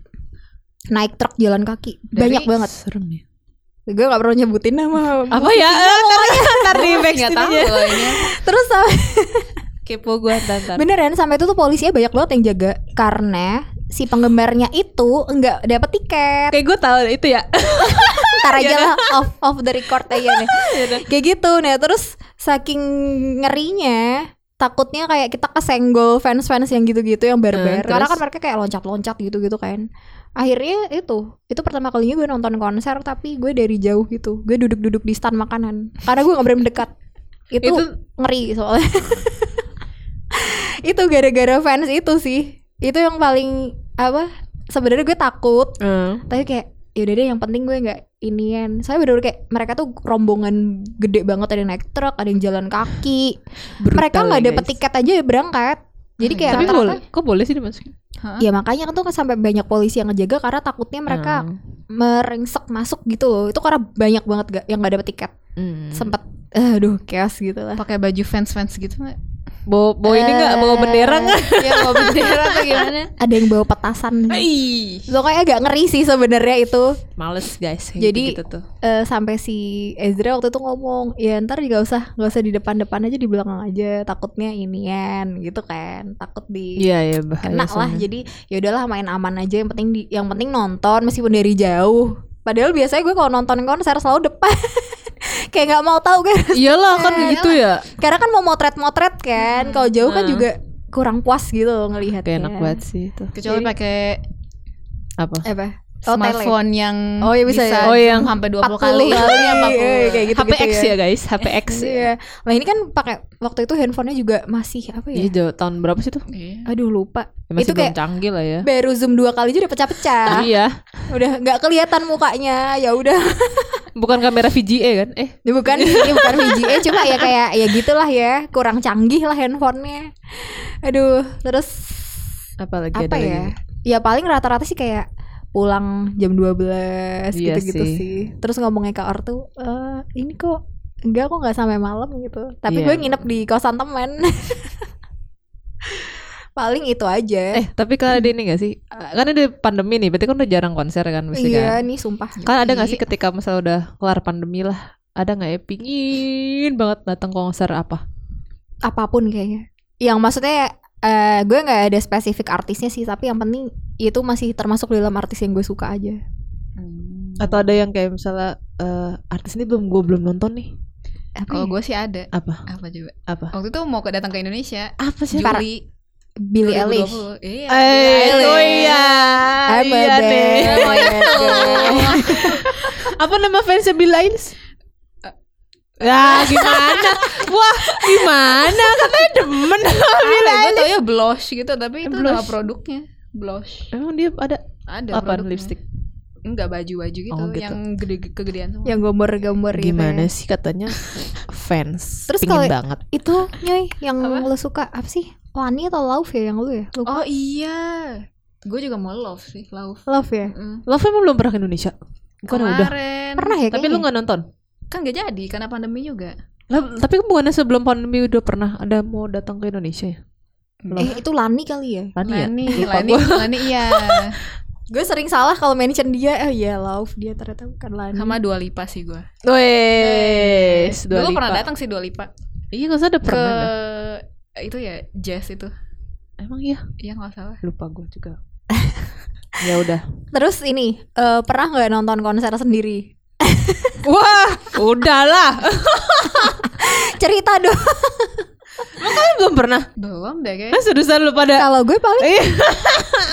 Speaker 2: Naik truk jalan kaki.
Speaker 3: Dari-
Speaker 2: Banyak banget.
Speaker 1: serem ya.
Speaker 2: Gue nggak perlu nyebutin nama.
Speaker 1: Apa ya? Eh, Ntar ntar di
Speaker 3: Nggak
Speaker 1: backstage
Speaker 3: tahu
Speaker 1: aja.
Speaker 3: loh ini.
Speaker 2: Terus sama
Speaker 1: Kepo gue ntar ntar.
Speaker 2: Beneran sampai itu tuh polisinya banyak banget yang jaga karena si penggemarnya itu nggak dapat tiket.
Speaker 1: Kayak gue tahu itu ya.
Speaker 2: Ntar aja lah off off the record aja nih. Kayak gitu. Nah, terus saking ngerinya takutnya kayak kita kesenggol fans-fans yang gitu-gitu yang
Speaker 1: Hmm,
Speaker 2: barbar. Karena
Speaker 1: terus?
Speaker 2: kan mereka kayak loncat-loncat gitu-gitu kan. Akhirnya itu, itu pertama kalinya gue nonton konser tapi gue dari jauh gitu. Gue duduk-duduk di stand makanan karena gue gak berani mendekat. Itu,
Speaker 1: Itu
Speaker 2: ngeri soalnya. itu gara-gara fans itu sih. Itu yang paling apa? Sebenarnya gue takut,
Speaker 1: eh,
Speaker 2: tapi kayak yaudah deh yang penting gue nggak inian. Saya bener-bener kayak mereka tuh rombongan gede banget ada yang naik truk, ada yang jalan kaki
Speaker 1: brutal
Speaker 2: mereka nggak
Speaker 1: ya,
Speaker 2: dapet
Speaker 1: guys. Iya,
Speaker 2: tiket aja berangkat jadi kayak
Speaker 1: Tapi
Speaker 2: rata-rata-
Speaker 1: boleh, kok boleh sih dimasukin?
Speaker 2: ya makanya kan tuh sampai banyak polisi yang ngejaga karena takutnya mereka
Speaker 1: Hmm.
Speaker 2: merengsek masuk gitu loh itu karena banyak banget ga- yang nggak dapet tiket
Speaker 1: Hmm.
Speaker 2: sempet aduh chaos gitu lah
Speaker 3: pakai baju fans fans gitu nggak
Speaker 1: bawa, bawa ini nggak bawa
Speaker 2: Eh,
Speaker 1: bendera nggak?
Speaker 2: iya,
Speaker 3: ya bawa bendera atau gimana
Speaker 2: ada yang bawa petasan
Speaker 1: Ih,
Speaker 2: lo kayak agak ngeri sih sebenarnya itu
Speaker 1: males guys. kayak
Speaker 2: Jadi-
Speaker 1: gitu tuh.
Speaker 2: Eh, sampai si Ezra waktu itu ngomong ya ntar juga usah nggak usah di depan-depan aja di belakang aja takutnya inian gitu kan takut di
Speaker 1: Iya ya bahaya.
Speaker 2: kena lah
Speaker 1: soalnya.
Speaker 2: jadi ya udahlah main aman aja yang penting di, yang penting nonton meskipun dari jauh padahal biasanya gue kalau nonton konser selalu depan kayak nggak mau tahu kan
Speaker 1: Iyalah kan gitu ya.
Speaker 2: karena kan mau motret-motret kan kalau jauh kan
Speaker 1: Hmm.
Speaker 2: juga kurang puas gitu loh ngelihat
Speaker 1: Kayak enak banget sih itu.
Speaker 3: kecuali
Speaker 2: Jadi-
Speaker 3: pakai
Speaker 1: Apa?
Speaker 2: apa Oh, tele.
Speaker 3: smartphone yang
Speaker 2: Oh, iya, bisa ya.
Speaker 1: Oh,
Speaker 3: zoom
Speaker 1: yang
Speaker 3: sampai 20
Speaker 2: 40
Speaker 3: kali
Speaker 2: kali,
Speaker 3: Iya, 40.
Speaker 2: iya, kayak gitu.
Speaker 1: HPX
Speaker 2: ya.
Speaker 1: ya guys, HPX.
Speaker 2: iya nah ini kan pakai waktu itu handphonenya juga masih apa
Speaker 1: Iya
Speaker 2: ya
Speaker 1: jauh tahun berapa sih tuh?
Speaker 3: Iya.
Speaker 2: aduh lupa
Speaker 1: Ya, masih
Speaker 2: itu
Speaker 1: belum
Speaker 2: kayak
Speaker 1: canggih lah ya.
Speaker 2: baru zoom dua kali aja udah pecah-pecah
Speaker 1: Iya,
Speaker 2: udah nggak kelihatan mukanya ya udah
Speaker 1: bukan kamera VGA kan? Eh,
Speaker 2: Ya bukan, ya bukan VGA, cuma ya kayak ya gitulah ya, kurang canggih lah handphonenya. Aduh, terus
Speaker 1: apa lagi
Speaker 2: apa
Speaker 1: ada lagi?
Speaker 2: ya? Ya paling rata-rata sih kayak pulang jam 12
Speaker 1: Iya
Speaker 2: gitu-gitu
Speaker 1: sih.
Speaker 2: sih. Terus ngomongnya ke Or tuh, "Eh, ini kok enggak kok nggak sampai malam gitu. Tapi
Speaker 1: Iya.
Speaker 2: gue nginep di kosan temen. paling itu aja.
Speaker 1: Eh, tapi kan ada ini gak sih? Kan ada pandemi nih, berarti kan udah jarang konser kan mesti kan?
Speaker 2: iya, nih sumpah.
Speaker 1: Kan ada gak sih ketika misalnya udah kelar pandemi lah Ada gak ya pingin banget datang konser apa?
Speaker 2: apapun kayaknya. Yang maksudnya eh, gue nggak ada spesifik artisnya sih, tapi yang penting itu masih termasuk dalam artis yang gue suka aja.
Speaker 3: Hmm.
Speaker 1: Atau ada yang kayak misalnya eh, Artis ini belum gue belum nonton nih Eh,
Speaker 2: Apa ya?
Speaker 3: kalau gue sih ada
Speaker 1: Apa?
Speaker 3: apa coba
Speaker 1: Apa?
Speaker 3: waktu itu mau ke datang ke Indonesia
Speaker 1: Apa sih?
Speaker 2: Par-
Speaker 3: Juli
Speaker 2: Billie Eilish.
Speaker 3: 2020. iya
Speaker 1: Eh,
Speaker 3: Billie
Speaker 1: oh
Speaker 3: Eilish.
Speaker 1: iya,
Speaker 2: I'm a
Speaker 1: iya deh.
Speaker 2: bad
Speaker 3: Oh, itu.
Speaker 1: Apa nama fansnya Billie Eilish? Ya gimana? Wah gimana? Katanya demen sama Billie
Speaker 3: gue
Speaker 1: Eilish.
Speaker 3: tau ya blush gitu tapi itu nama
Speaker 1: Blush.
Speaker 3: produknya blush
Speaker 1: Emang dia ada
Speaker 3: ada
Speaker 1: apa
Speaker 3: produknya.
Speaker 1: lipstick?
Speaker 3: enggak baju-baju gitu,
Speaker 1: Oh, gitu.
Speaker 3: yang gede kegedean semua
Speaker 2: Yang gambar-gambar gitu.
Speaker 1: Gimana
Speaker 2: ya.
Speaker 1: sih katanya fans?
Speaker 2: Terus
Speaker 1: pingin
Speaker 2: kalau-
Speaker 1: banget.
Speaker 2: Itu Nyoy yang
Speaker 3: Apa?
Speaker 2: lo suka apa sih? Lani atau Love ya yang lo ya? Lupa.
Speaker 3: oh iya gue juga mau love sih love
Speaker 2: Love ya.
Speaker 3: Mm.
Speaker 1: Love emang belum pernah ke Indonesia? Bukan Kan udah.
Speaker 3: kemarin
Speaker 2: Pernah ya
Speaker 1: Tapi lu
Speaker 2: kayaknya?
Speaker 1: nggak nonton?
Speaker 3: kan gak jadi karena pandemi juga
Speaker 1: Lah, tapi kan bukannya sebelum pandemi udah pernah ada mau datang ke Indonesia ya?
Speaker 2: Eh, itu Lani kali ya?
Speaker 1: Lani ya?
Speaker 3: Lani
Speaker 1: Lupa
Speaker 3: Lani
Speaker 1: gua.
Speaker 3: Lani iya
Speaker 2: Gue sering salah kalau mention dia. Eh iya Love dia ternyata bukan Lani.
Speaker 3: sama Dua Lipa sih gue
Speaker 1: Wes, Dua Lipa.
Speaker 3: dulu pernah datang sih Dua Lipa
Speaker 1: Iya, nggak usah ada
Speaker 3: ke
Speaker 1: pernah. dah.
Speaker 3: itu ya jazz itu
Speaker 1: Emang iya,
Speaker 3: iya nggak salah
Speaker 1: lupa gue juga. ya udah.
Speaker 2: Terus ini eh, pernah nggak nonton konser sendiri?
Speaker 1: Wah, udahlah.
Speaker 2: Cerita dong.
Speaker 1: Kan belum pernah.
Speaker 3: belum deh guys
Speaker 1: Nah, seriusan lu pada.
Speaker 2: kalau gue paling
Speaker 1: Iya,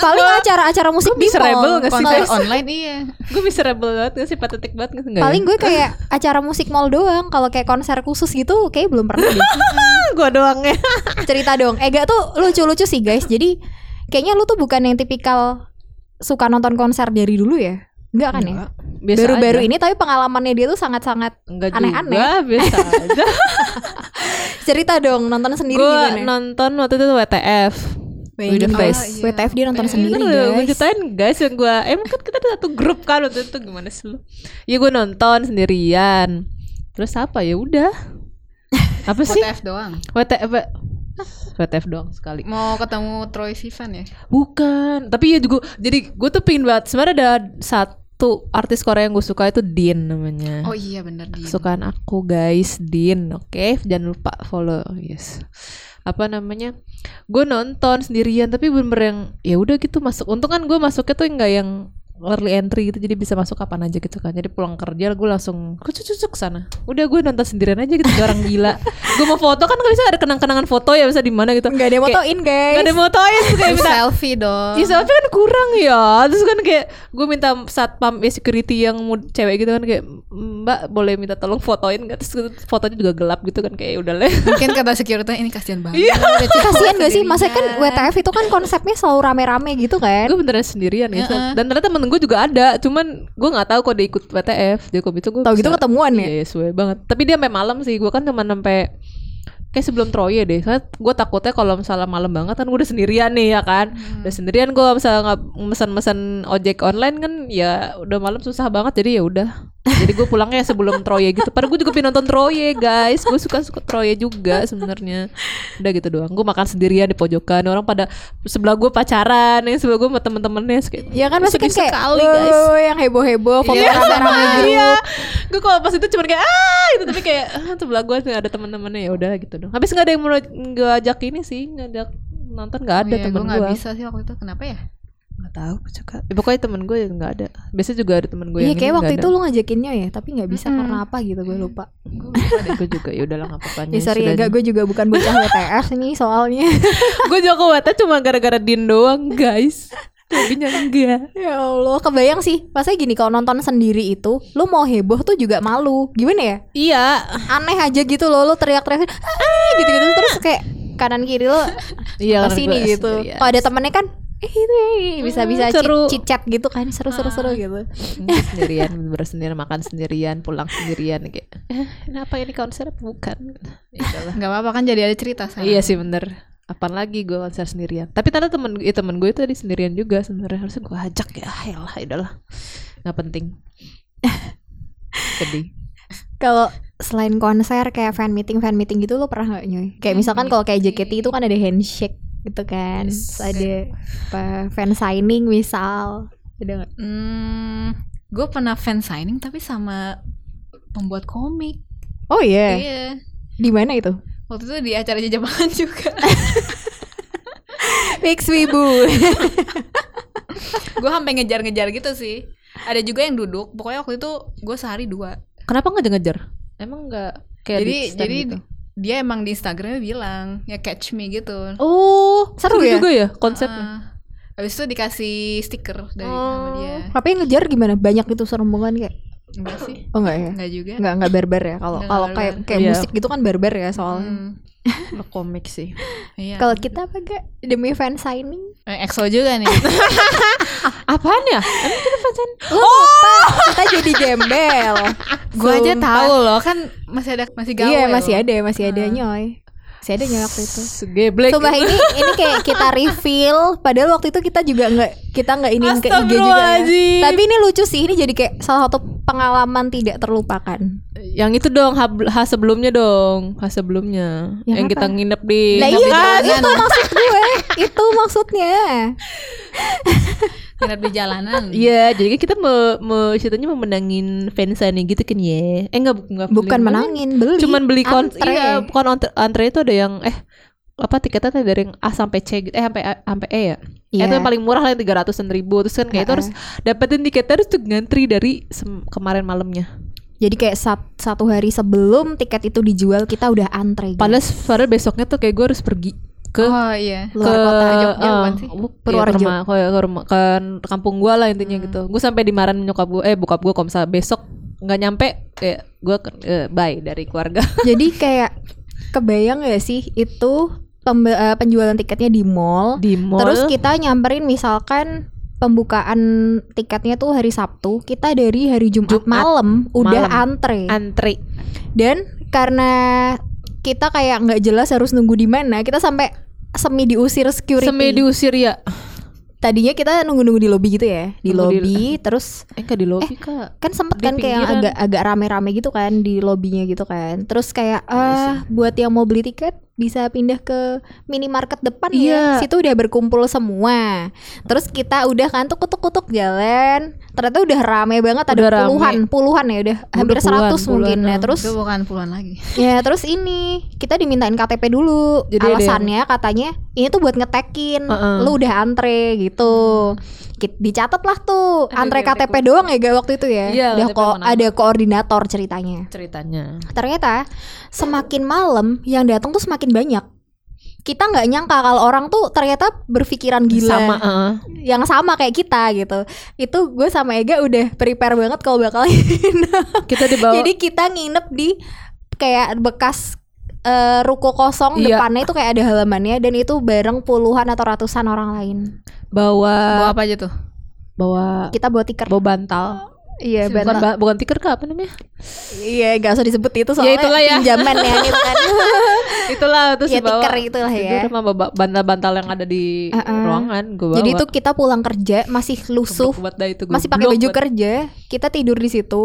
Speaker 2: paling acara-acara musik
Speaker 1: Gua
Speaker 2: di
Speaker 1: bisa rebel
Speaker 2: mall.
Speaker 1: nggak sih,
Speaker 2: Kalau
Speaker 3: konser online iya
Speaker 1: gue miserable banget nggak sih, patetik banget nggak sih? Nggak
Speaker 2: paling
Speaker 1: ya?
Speaker 2: gue kayak acara musik mall doang kalau kayak konser khusus gitu kayak belum pernah deh.
Speaker 1: Ah, gue doang ya.
Speaker 2: cerita dong Ega tuh lucu-lucu sih guys jadi kayaknya lu tuh bukan yang tipikal suka nonton konser dari dulu ya Enggak kan ya
Speaker 1: Biasa
Speaker 2: baru-baru
Speaker 1: aja.
Speaker 2: ini tapi pengalamannya dia tuh sangat-sangat
Speaker 1: Enggak
Speaker 2: aneh-aneh.
Speaker 1: juga, biasa aja.
Speaker 2: cerita dong nonton sendiri
Speaker 1: gue
Speaker 2: gimana Oh,
Speaker 1: nonton waktu itu WTF. With the
Speaker 2: Bayangin
Speaker 1: face.
Speaker 2: guys, WTF dia nonton
Speaker 1: Iya,
Speaker 2: sendiri
Speaker 1: kan udah gue
Speaker 2: guys
Speaker 1: ceritain guys yang gue emang kan kita ada satu grup kan waktu itu gimana sih lu ya gue nonton sendirian terus apa ya udah apa sih
Speaker 3: WTF doang
Speaker 1: WTF WTF doang sekali
Speaker 3: mau ketemu Troy Sivan ya
Speaker 1: Eh. bukan tapi ya juga jadi gue tuh pingin banget sebenarnya ada satu artis Korea yang gue suka itu Dean namanya
Speaker 3: oh iya bener dia
Speaker 1: kesukaan aku guys Din oke jangan lupa follow yes apa namanya gue nonton sendirian tapi bener yang ya udah gitu masuk untung kan gue masuknya tuh enggak yang early entry gitu jadi bisa masuk kapan aja gitu kan jadi pulang kerja gue langsung kucucuk ke sana udah gue nonton sendirian aja gitu kayak orang gila gue mau foto kan nggak bisa ada kenang-kenangan foto ya bisa di mana gitu
Speaker 2: Nggak ada yang motoin guys.
Speaker 1: nggak ada yang motoin terus kayak
Speaker 3: Terus
Speaker 1: minta
Speaker 3: selfie dong.
Speaker 1: Ya selfie kan kurang ya Terus kan kayak Gue minta satpam ya security yang mu- cewek gitu kan Kayak mbak boleh minta tolong fotoin gak Terus kan fotonya juga gelap gitu kan Kayak udah lah
Speaker 3: Mungkin kata security ini kasihan banget.
Speaker 1: Iya.
Speaker 3: Udah cukup
Speaker 2: Kasian gak sih?
Speaker 3: sendirian.
Speaker 2: Maksudnya kan WTF itu kan konsepnya selalu rame-rame gitu kan?
Speaker 1: Gue beneran sendirian gitu
Speaker 3: Heeh.
Speaker 1: Dan ternyata temen gue juga ada Cuman gue gak tahu kok dia ikut WTF Dia kok itu gue
Speaker 2: Tahu gitu ketemuan
Speaker 1: Iya
Speaker 2: ya?
Speaker 1: iya suwe banget Tapi dia sampai malam sih Gue kan cuma sampai Kayak sebelum Troye deh Soalnya gue takutnya kalau misalnya malam banget kan gue udah sendirian nih ya kan Udah sendirian gue misalnya nggak mesen-mesen ojek online kan Ya udah malam susah banget Jadi ya udah Jadi gue pulangnya sebelum Troye gitu Padahal gue juga pengen nonton Troye guys Gue suka-suka Troye juga sebenarnya Udah gitu doang Gue makan sendirian di pojokan Orang pada sebelah gue pacaran Yang sebelah gue sama temen-temennya Terus kayak,
Speaker 2: Ya kan masih kan
Speaker 1: Sedih
Speaker 2: kayak
Speaker 1: sekali, guys.
Speaker 2: "Woy, yang heboh-heboh, foto
Speaker 3: Iya.
Speaker 2: rame-rame gitu." grup.
Speaker 1: iya gue kalau pas itu cuma kayak ah gitu tapi kayak ah, sebelah gue nggak ada teman-temannya ya udah gitu dong habis nggak ada yang mau gue ajak ini sih ngajak nonton nggak ada
Speaker 3: Iya,
Speaker 1: temen
Speaker 3: gua
Speaker 1: gue
Speaker 3: nggak bisa sih waktu itu. Kenapa ya?
Speaker 1: nggak tahu gue juga ya, pokoknya temen gue nggak ada biasanya juga ada temen gue
Speaker 2: Iya
Speaker 1: yang
Speaker 2: kayak
Speaker 1: ini
Speaker 2: waktu
Speaker 1: nggak
Speaker 2: itu lu ngajakinnya ya, tapi nggak bisa
Speaker 3: Mm-mm.
Speaker 2: karena apa gitu gue lupa.
Speaker 1: ada Ada gue juga ya udahlah nggak apa-apa
Speaker 2: Ya sorry ya,
Speaker 1: sudah.
Speaker 2: gak, gue juga bukan bocah WTF nih soalnya.
Speaker 1: gue juga kuatnya cuma gara-gara din doang guys jadinya enggak
Speaker 2: ya Allah, kebayang sih. Maksudnya gini, kalau nonton sendiri itu, lu mau heboh tuh juga malu. Gimana ya?
Speaker 1: iya
Speaker 2: Aneh aja gitu loh, lu teriak-teriak "Ah!" gitu-gitu terus kayak kanan kiri lu
Speaker 1: iya
Speaker 2: ke sini gitu. Kalau ada temennya kan eh itu eh, bisa-bisa
Speaker 1: Hmm, seru. Ah.
Speaker 2: chit chat gitu kan seru-seru-seru gitu.
Speaker 1: sendirian bersendirian makan sendirian pulang sendirian kayak eh, kenapa ini konser apa bukan ya udahlah
Speaker 3: Gak apa-apa kan jadi ada cerita sekarang.
Speaker 1: Iya sih bener Apaan lagi gue konser sendirian Tapi ternyata temen, ya, temen gue itu tadi sendirian juga sebenarnya Harusnya gue ajak ya Ah, Yalah udahlah Gak penting Sedih
Speaker 2: Kalau selain konser kayak fan meeting fan meeting gitu lo pernah nggak nyoy? Kayak misalkan kalau kayak JKT itu kan ada handshake gitu kan,
Speaker 1: Yes.
Speaker 2: Terus ada apa, fan signing misal,
Speaker 1: Ya
Speaker 2: ada nggak?
Speaker 3: Hmm, gue pernah fan signing tapi sama pembuat komik.
Speaker 2: Oh iya,
Speaker 3: Iya.
Speaker 2: di mana itu?
Speaker 3: Waktu itu di acara jajaban juga.
Speaker 2: Fix Wibu.
Speaker 3: gue sampai ngejar-ngejar gitu sih. Ada juga yang duduk. Pokoknya waktu itu gue sehari dua.
Speaker 1: Kenapa gak ngejar? Emang gak kayak
Speaker 3: jadi
Speaker 1: di stand
Speaker 3: jadi
Speaker 1: gitu?
Speaker 3: dia emang di Instagramnya bilang ya catch me gitu.
Speaker 1: Oh
Speaker 2: seru
Speaker 1: seru
Speaker 2: ya?
Speaker 1: juga ya konsepnya
Speaker 3: Ah. Habis itu dikasih stiker dari sama dia.
Speaker 2: Tapi yang ngejar gimana? Banyak itu serombongan kayak?
Speaker 3: Enggak sih?
Speaker 2: Oh enggak ya?
Speaker 3: Enggak juga.
Speaker 2: Enggak enggak barbar ya kalau
Speaker 3: Nggak
Speaker 2: kalau kayak
Speaker 3: barbar.
Speaker 2: kayak
Speaker 1: Iya.
Speaker 2: musik gitu kan barbar ya soalnya.
Speaker 3: Hmm,
Speaker 1: Lo Ah. komik sih
Speaker 3: iya.
Speaker 2: Kalau kita apa enggak demi fan signing?
Speaker 3: Eh, EXO juga nih.
Speaker 1: Apaan ya? Emang kita fansign?
Speaker 2: Lo
Speaker 3: Oh!
Speaker 2: lupa kita jadi gembel.
Speaker 3: gue aja
Speaker 2: Sumpah.
Speaker 3: tahu loh kan masih ada masih gawe.
Speaker 2: Iya masih
Speaker 3: loh. Hmm.
Speaker 2: ada masih ada nyoy. Masih ada nyoy waktu itu.
Speaker 1: Geblek
Speaker 2: Coba ini ini kayak kita reveal padahal waktu itu kita juga nggak kita nggak ini ke IG juga. ya.
Speaker 1: Astagfirullahaladzim.
Speaker 2: Tapi ini lucu sih ini jadi kayak salah satu pengalaman tidak terlupakan.
Speaker 1: Yang itu dong H, H sebelumnya dong H sebelumnya
Speaker 2: Yang
Speaker 1: Yang,
Speaker 2: apa?
Speaker 1: kita nginep di
Speaker 2: Nah
Speaker 1: nginep
Speaker 2: itu,
Speaker 1: di
Speaker 2: itu
Speaker 1: jalanan.
Speaker 2: maksud gue, itu maksudnya.
Speaker 3: Nginep di jalanan.
Speaker 2: Hmm.
Speaker 1: Iya, jadi kan kita me, me ceritanya mau menangin fansign gitu kan ya. Eh enggak, enggak beli.
Speaker 2: Bukan menangin, beli.
Speaker 1: Cuman beli kon
Speaker 2: Antre.
Speaker 1: iya, bukan antre, antre itu ada yang eh apa tiketnya tuh dari yang A sampai C gitu. Eh sampai A- sampai E ya.
Speaker 2: Iya.
Speaker 1: Itu yang paling murah lah yang 300-an ribu. Terus kan kayak itu
Speaker 2: Heeh.
Speaker 1: harus dapetin tiketnya harus tuh ngantri dari sem- kemarin malamnya.
Speaker 2: Jadi kayak sat- satu hari sebelum tiket itu dijual kita udah antre. gitu.
Speaker 1: Padahal padahal besoknya tuh kayak gue harus pergi ke
Speaker 3: Oh iya.
Speaker 2: Luar
Speaker 1: ke
Speaker 2: kota.
Speaker 3: Jogja bukan
Speaker 1: eh,
Speaker 3: sih?
Speaker 1: bu- iya,
Speaker 2: Purworejo.
Speaker 1: ke rumah ke, ke rumah ke kampung gua lah intinya
Speaker 2: Hmm.
Speaker 1: gitu gue sampai dimarahin nyokap gue eh bokap gue kalau misalnya besok nggak nyampe kayak gue bye dari keluarga
Speaker 2: Jadi kayak kebayang gak sih itu pembe- eh, penjualan tiketnya di mall.
Speaker 1: di mall
Speaker 2: Terus kita nyamperin misalkan pembukaan tiketnya tuh hari Sabtu, kita dari hari Jumat,
Speaker 1: Jumat
Speaker 2: malam udah
Speaker 1: malam.
Speaker 2: antre.
Speaker 1: antri
Speaker 2: Dan karena kita kayak nggak jelas harus nunggu di mana, kita sampai semi diusir security.
Speaker 1: semi diusir ya
Speaker 2: Tadinya kita nunggu-nunggu di lobby gitu ya, di
Speaker 1: Nunggu di-
Speaker 2: lobby terus
Speaker 1: eh nggak di lobby kak
Speaker 2: kan sempet
Speaker 1: Di
Speaker 2: kan kayak yang
Speaker 1: pinggiran. Iya
Speaker 2: agak agak rame-rame gitu kan di lobbynya gitu kan terus kayak eh buat "Ah, yang mau beli tiket bisa pindah ke minimarket depan
Speaker 1: Iya.
Speaker 2: ya. Situ udah berkumpul semua. Terus kita udah kan tuh kutuk-kutuk jalan. Ternyata udah rame banget ada
Speaker 1: Udah rame.
Speaker 2: puluhan, puluhan ya udah hampir
Speaker 1: puluhan,
Speaker 2: 100
Speaker 1: puluhan,
Speaker 2: mungkin ya.
Speaker 1: ah.
Speaker 2: Terus
Speaker 3: itu bukan puluhan lagi
Speaker 2: ya terus ini kita dimintain KTP dulu.
Speaker 1: Jadi ada yang-
Speaker 2: Alasannya katanya ini tuh buat ngetekin.
Speaker 1: Heeh. Hmm.
Speaker 2: Lu udah antre gitu. Ki- Dicatat lah tuh
Speaker 3: Ada
Speaker 2: antre
Speaker 3: KTP.
Speaker 2: KTP doang ya gak waktu itu ya.
Speaker 1: gitu. Iya,
Speaker 2: udah
Speaker 1: KTP
Speaker 2: ko-
Speaker 1: menang.
Speaker 2: ada koordinator ceritanya
Speaker 1: ceritanya
Speaker 2: ternyata semakin malam yang datang tuh semakin banyak kita nggak nyangka kalau orang tuh ternyata berpikiran gila
Speaker 1: sama eh,
Speaker 2: yang sama kayak kita gitu itu gue sama Ega udah prepare banget kalau bakal
Speaker 1: kita dibawa
Speaker 2: jadi kita nginep di kayak bekas eh, ruko kosong
Speaker 1: Iya.
Speaker 2: depannya itu kayak ada halamannya dan itu bareng puluhan atau ratusan orang lain
Speaker 1: bawa
Speaker 3: bawa apa aja tuh
Speaker 1: bawa
Speaker 2: kita bawa tiket
Speaker 1: Ah. bawa bantal
Speaker 2: iya
Speaker 1: bukan
Speaker 2: bantal.
Speaker 1: ba- bukan tiker kah apa namanya
Speaker 2: iya gak usah disebut itu soalnya
Speaker 1: itulah ya.
Speaker 2: pinjaman ya itu kan
Speaker 1: itulah terus
Speaker 2: ya
Speaker 1: dibawa
Speaker 2: tiker itulah ya
Speaker 1: tidur sama ba- bantal-bantal yang ada di
Speaker 2: Uh-uh.
Speaker 1: ruangan gue bawa
Speaker 2: Jadi itu kita pulang kerja masih lusuh,
Speaker 1: Geblek banget dah itu,
Speaker 2: masih pakai
Speaker 1: geblek
Speaker 2: baju
Speaker 1: banget.
Speaker 2: kerja, kita tidur di situ.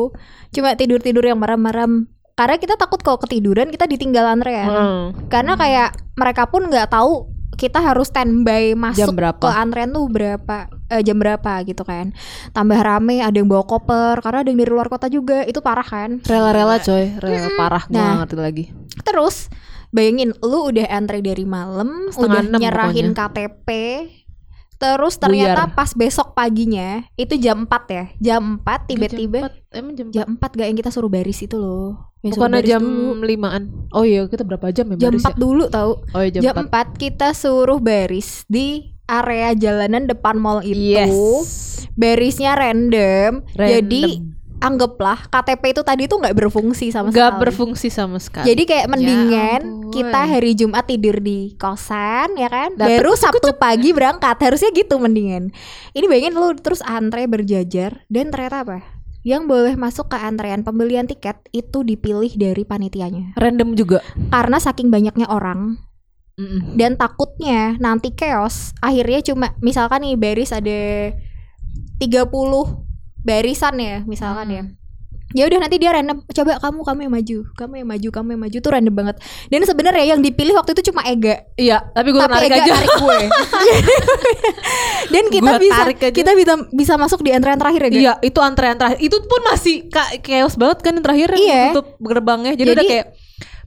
Speaker 2: Cuma tidur-tidur yang merem-merem. Karena kita takut kalau ketiduran kita ditinggal antrean.
Speaker 1: Heeh.
Speaker 2: Karena kayak mereka pun nggak tahu kita harus standby
Speaker 1: jam
Speaker 2: masuk
Speaker 1: berapa
Speaker 2: ke antrean tuh berapa eh, jam berapa gitu kan. Tambah rame, ada yang bawa koper karena ada yang dari luar kota juga. Itu parah kan?
Speaker 1: rela-rela coy rela parah gue
Speaker 2: Nah.
Speaker 1: nggak ngerti lagi
Speaker 2: Terus bayangin lu udah antre dari malam,
Speaker 1: Setengah
Speaker 2: udah
Speaker 1: enam
Speaker 2: nyerahin KTP. Terus ternyata
Speaker 1: Buyar.
Speaker 2: pas besok paginya itu jam 4 ya. Jam 4 tiba-tiba
Speaker 1: Jam empat, emang jam
Speaker 2: jam 4 gak yang kita suruh baris itu loh. Yang suruh
Speaker 1: Bukan
Speaker 2: baris
Speaker 1: jam
Speaker 2: dulu.
Speaker 1: limaan Oh iya kita berapa jam ya
Speaker 2: jam
Speaker 1: baris
Speaker 2: 4
Speaker 1: ya?
Speaker 2: dulu tahu.
Speaker 1: Oh iya jam,
Speaker 2: Jam, 4. kita suruh baris di area jalanan depan mall itu.
Speaker 1: Yes
Speaker 2: Barisnya random. Jadi anggaplah KTP itu tadi tuh nggak berfungsi sama
Speaker 1: Gak
Speaker 2: sekali.
Speaker 1: berfungsi sama sekali
Speaker 2: Jadi kayak mendingan
Speaker 3: ampun.
Speaker 2: kita hari Jumat tidur di kosan ya kan.
Speaker 1: Dapet
Speaker 2: Baru Sabtu pagi berangkat. Harusnya gitu mendingan. Ini bayangin lu terus antre berjajar dan ternyata apa? Yang boleh masuk ke antrean pembelian tiket itu dipilih dari panitianya.
Speaker 1: Random juga
Speaker 2: Karena saking banyaknya orang
Speaker 1: Mm-mm.
Speaker 2: dan takutnya nanti chaos, akhirnya cuma misalkan nih baris ada 30 barisan ya misalkan ya
Speaker 1: Hmm.
Speaker 2: ya udah nanti dia random coba kamu kamu yang maju kamu yang maju kamu yang maju tuh random banget dan sebenarnya yang dipilih waktu itu cuma Ega
Speaker 1: Iya tapi gue
Speaker 2: tapi
Speaker 1: narik
Speaker 2: Ega
Speaker 1: aja
Speaker 2: tarik gue dan kita
Speaker 1: Gua
Speaker 2: bisa
Speaker 1: tarik aja.
Speaker 2: kita bisa bisa masuk di antrean terakhir ya Ga?
Speaker 1: Iya itu antrean terakhir Itu pun masih ka- chaos banget kan yang terakhir yang
Speaker 2: Iya.
Speaker 1: Tutup gerbangnya Jadi,
Speaker 2: Jadi- iya.
Speaker 1: udah kayak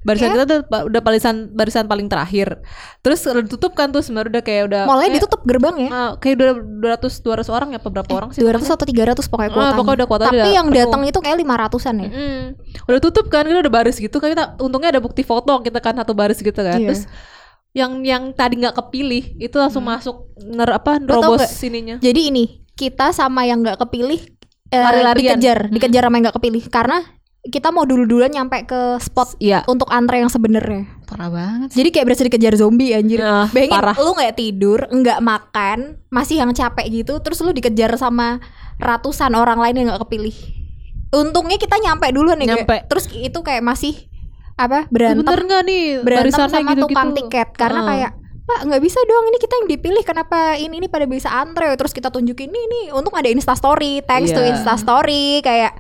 Speaker 1: Barisan
Speaker 2: Kayak-
Speaker 1: kita udah, udah barisan, barisan paling terakhir Terus udah tutup kan tuh sebenarnya udah kayak udah
Speaker 2: mulai
Speaker 1: kayak,
Speaker 2: ditutup gerbang ya Eh,
Speaker 1: ah, Kayak udah 200 200 orang ya apa berapa orang sih
Speaker 2: 200 atau 300 pokoknya
Speaker 1: Ah,
Speaker 2: kuotanya.
Speaker 1: pokoknya udah kuotanya
Speaker 2: Tapi
Speaker 1: udah
Speaker 2: yang
Speaker 1: penuh.
Speaker 2: datang itu kayak 500-an ya.
Speaker 1: Mm. Udah tutup kan, kita udah baris gitu. Kan kita untungnya ada bukti foto kita kan satu baris gitu kan.
Speaker 2: Iya.
Speaker 1: Terus yang yang tadi nggak kepilih itu langsung masuk ner apa
Speaker 2: tau
Speaker 1: nerobos
Speaker 2: nggak?
Speaker 1: sininya.
Speaker 2: Jadi ini kita sama yang nggak kepilih eh,
Speaker 1: Lari-larian. Hmm.
Speaker 2: dikejar, dikejar sama yang nggak kepilih karena kita mau dulu-duluan nyampe ke spot
Speaker 1: Iya.
Speaker 2: untuk antre yang sebenarnya.
Speaker 3: parah banget
Speaker 2: Jadi kayak berasa dikejar zombie anjir.
Speaker 1: Nah,
Speaker 2: Bayangin
Speaker 1: parah.
Speaker 2: lu nggak tidur, nggak makan, masih yang capek gitu, terus lu dikejar sama ratusan orang lain yang nggak kepilih. Untungnya kita nyampe dulu nih, Ge.
Speaker 1: Nyampe.
Speaker 2: terus itu kayak masih apa
Speaker 1: Bener
Speaker 2: berantem,
Speaker 1: nggak nih
Speaker 2: berantem
Speaker 1: barisannya
Speaker 2: sama
Speaker 1: gitu-gitu? Ah.
Speaker 2: tukang tiket karena
Speaker 1: Heeh.
Speaker 2: kayak Pak nggak bisa dong ini kita yang dipilih kenapa ini ini pada bisa antre terus kita tunjukin nih nih untung ada Insta Story thanks to
Speaker 1: Iya.
Speaker 2: Insta Story kayak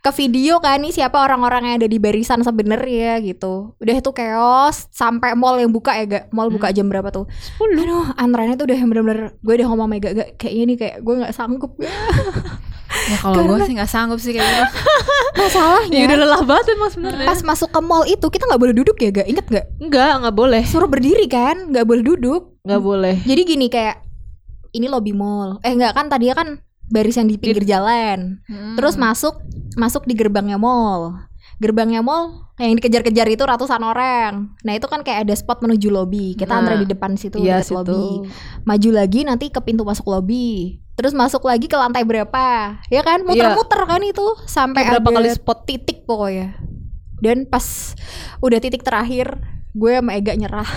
Speaker 2: ke video kan nih siapa orang-orang yang ada di barisan sebenarnya gitu udah itu chaos sampai mall yang buka ya gak mall
Speaker 1: Hmm.
Speaker 2: buka jam berapa tuh
Speaker 1: Sepuluh.
Speaker 2: aduh antreannya tuh udah yang bener-bener gue udah ngomong mega gak kayaknya nih kayak gue nggak sanggup
Speaker 3: ya kalau gue sih nggak sanggup sih kayak gitu
Speaker 1: Ya udah
Speaker 2: masalahnya
Speaker 1: lelah banget emang sebenarnya.
Speaker 2: pas masuk ke mall itu kita nggak boleh duduk ya gak inget gak
Speaker 1: Enggak, enggak boleh.
Speaker 2: suruh berdiri kan nggak boleh duduk
Speaker 1: Enggak boleh.
Speaker 2: Jadi gini kayak ini lobby mall. Eh enggak kan tadinya kan baris yang
Speaker 1: Iya.
Speaker 2: di pinggir jalan.
Speaker 3: Hmm.
Speaker 2: Terus masuk masuk di gerbangnya mall. Gerbangnya mall yang dikejar-kejar itu ratusan orang. Nah, itu kan kayak ada spot menuju lobby. Kita
Speaker 1: Nah,
Speaker 2: antre di depan situ
Speaker 1: Iya
Speaker 2: dekat lobby.
Speaker 1: situ.
Speaker 2: Maju lagi nanti ke pintu masuk lobby. Terus masuk lagi ke lantai berapa? Ya kan muter-muter kan itu sampai
Speaker 1: Iya. Berapa
Speaker 2: Eh, ada
Speaker 1: kali
Speaker 2: spot titik pokoknya. Dan pas udah titik terakhir, gue sama Ega nyerah.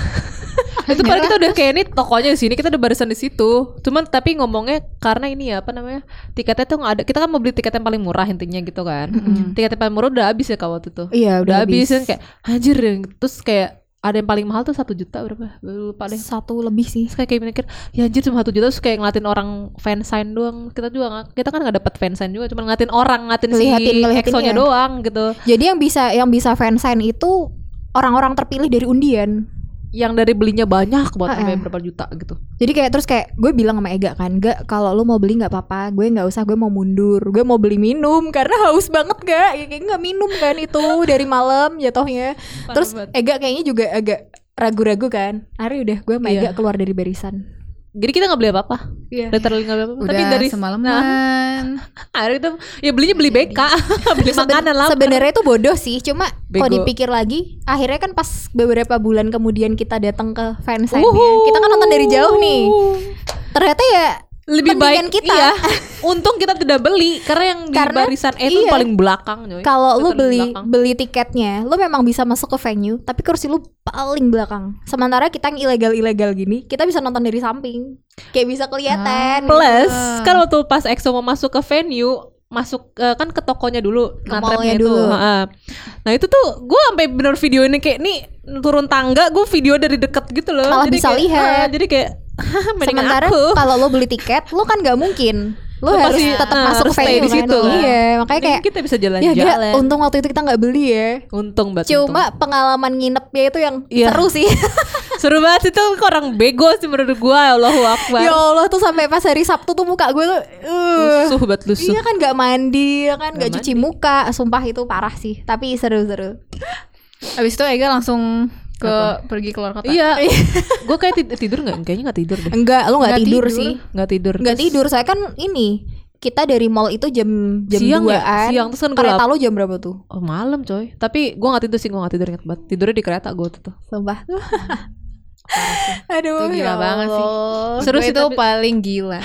Speaker 1: itu padahal kita udah kayak ini tokonya di sini kita udah barisan di situ cuman tapi ngomongnya karena ini ya apa namanya tiketnya tuh nggak ada kita kan mau beli tiket yang paling murah intinya gitu kan tiket yang paling murah udah habis ya kawat itu
Speaker 2: Iya,
Speaker 1: udah habis kan kayak anjir terus kayak ada yang paling mahal tuh satu juta berapa lupa deh
Speaker 2: Satu lebih sih.
Speaker 1: terus kayak, kayak mikir ya anjir cuma satu juta terus kayak ngeliatin orang fansign doang kita juga nggak- kita kan nggak dapet fansign juga cuma ngeliatin orang ngeliatin
Speaker 2: Ngeliatin-
Speaker 1: si
Speaker 2: ngeliatin
Speaker 1: EXO-nya
Speaker 2: ya.
Speaker 1: doang gitu
Speaker 2: Jadi yang bisa yang bisa fansign itu orang-orang terpilih dari undian.
Speaker 1: yang dari belinya banyak buat
Speaker 2: Heeh.
Speaker 1: sampai berapa juta gitu.
Speaker 2: Jadi kayak terus kayak gue bilang sama Ega kan, "Gak, kalau lu mau beli nggak apa-apa, gue nggak usah, gue mau mundur. Gue mau beli minum karena haus banget gak? Ya kayak nggak minum kan itu dari malam jatuhnya. Terus
Speaker 3: banget.
Speaker 2: Ega kayaknya juga agak ragu-ragu kan. Ari udah gue sama
Speaker 1: Iya.
Speaker 2: Ega keluar dari barisan.
Speaker 1: Jadi kita nggak beli apa-apa,
Speaker 2: Iya.
Speaker 1: literally nggak beli apa-apa.
Speaker 4: Udah
Speaker 1: Tapi dari
Speaker 4: semalaman.
Speaker 1: hari itu ya belinya beli BK, beli makanan lah.
Speaker 2: Iya, Sebenarnya itu bodoh sih, cuma kalau
Speaker 1: Bego.
Speaker 2: dipikir lagi, akhirnya kan pas beberapa bulan kemudian kita datang ke fansite
Speaker 1: Wuhu.
Speaker 2: kita kan nonton dari jauh nih. Ternyata ya
Speaker 1: Lebih
Speaker 2: Mendingan
Speaker 1: baik
Speaker 2: kita.
Speaker 1: Iya. Untung kita tidak beli karena yang di
Speaker 2: Karena-
Speaker 1: barisan E itu
Speaker 2: iya.
Speaker 1: paling belakang nyoy.
Speaker 2: Kalau lu
Speaker 1: Itu paling
Speaker 2: beli
Speaker 1: belakang.
Speaker 2: beli tiketnya, lu memang bisa masuk ke venue, tapi kursi lu paling belakang. Sementara kita yang ilegal-ilegal gini, kita bisa nonton dari samping. Kayak bisa kelihatan.
Speaker 1: Plus,
Speaker 4: Ah.
Speaker 1: kan waktu pas EXO mau masuk ke venue, masuk eh, kan ke tokonya dulu,
Speaker 2: Ke
Speaker 1: ngantrepnya
Speaker 2: mallnya
Speaker 1: itu.
Speaker 2: dulu.
Speaker 1: Heeh. Nah itu tuh gue sampai bener video ini kayak nih turun tangga gue video dari deket gitu loh.
Speaker 2: Malah bisa
Speaker 1: kayak,
Speaker 2: lihat.
Speaker 1: ah, jadi kayak "Hah, mendingan
Speaker 2: Sementara
Speaker 1: aku.
Speaker 2: kalau lu beli tiket, lu kan nggak mungkin.
Speaker 1: Lu
Speaker 2: Lu harus
Speaker 1: pasti,
Speaker 2: tetap
Speaker 1: ah,
Speaker 2: masuk
Speaker 1: harus
Speaker 2: ke
Speaker 1: stay
Speaker 2: venue
Speaker 1: di situ
Speaker 2: kan.
Speaker 1: lah.
Speaker 2: Iya, makanya
Speaker 1: Mending
Speaker 2: kayak
Speaker 1: kita bisa
Speaker 2: ya
Speaker 1: jalan-jalan.
Speaker 2: gak, untung waktu itu kita nggak beli ya.
Speaker 1: Untung banget.
Speaker 2: Cuma pengalaman nginepnya itu yang
Speaker 1: Iya.
Speaker 2: seru sih.
Speaker 1: untung. seru banget itu orang bego sih menurut gue. Allahu Akbar.
Speaker 2: ya Allah tuh sampai pas hari Sabtu tuh muka gue tuh uh,
Speaker 1: Lusuh banget lusuh.
Speaker 2: Iya kan nggak mandi, ya kan nggak
Speaker 1: Nggak
Speaker 2: cuci muka, sumpah itu parah sih. Tapi seru-seru.
Speaker 3: Abis itu Ega langsung ke pergi keluar kota.
Speaker 1: Iya. gue kayak tid- tidur nggak? Kayaknya nggak tidur deh.
Speaker 2: Enggak, lu nggak
Speaker 3: Nggak
Speaker 2: tidur,
Speaker 3: tidur.
Speaker 2: sih.
Speaker 1: Nggak tidur.
Speaker 2: Nggak
Speaker 1: Terus-
Speaker 2: tidur, saya kan ini kita dari mall itu jam jam
Speaker 1: Siang ya?
Speaker 2: 2-an.
Speaker 1: Siang, terus kan
Speaker 2: kereta lu jam berapa tuh?
Speaker 1: Oh malam coy Tapi gua gak tidur sih Gue gak tidur inget banget Tidurnya di kereta gue tuh
Speaker 2: Sumpah. Aduh,
Speaker 3: Itu
Speaker 2: ya
Speaker 3: gila banget sih.
Speaker 2: Allah.
Speaker 1: Seru
Speaker 3: Seru
Speaker 1: sih,
Speaker 3: itu
Speaker 1: tapi-
Speaker 3: paling gila.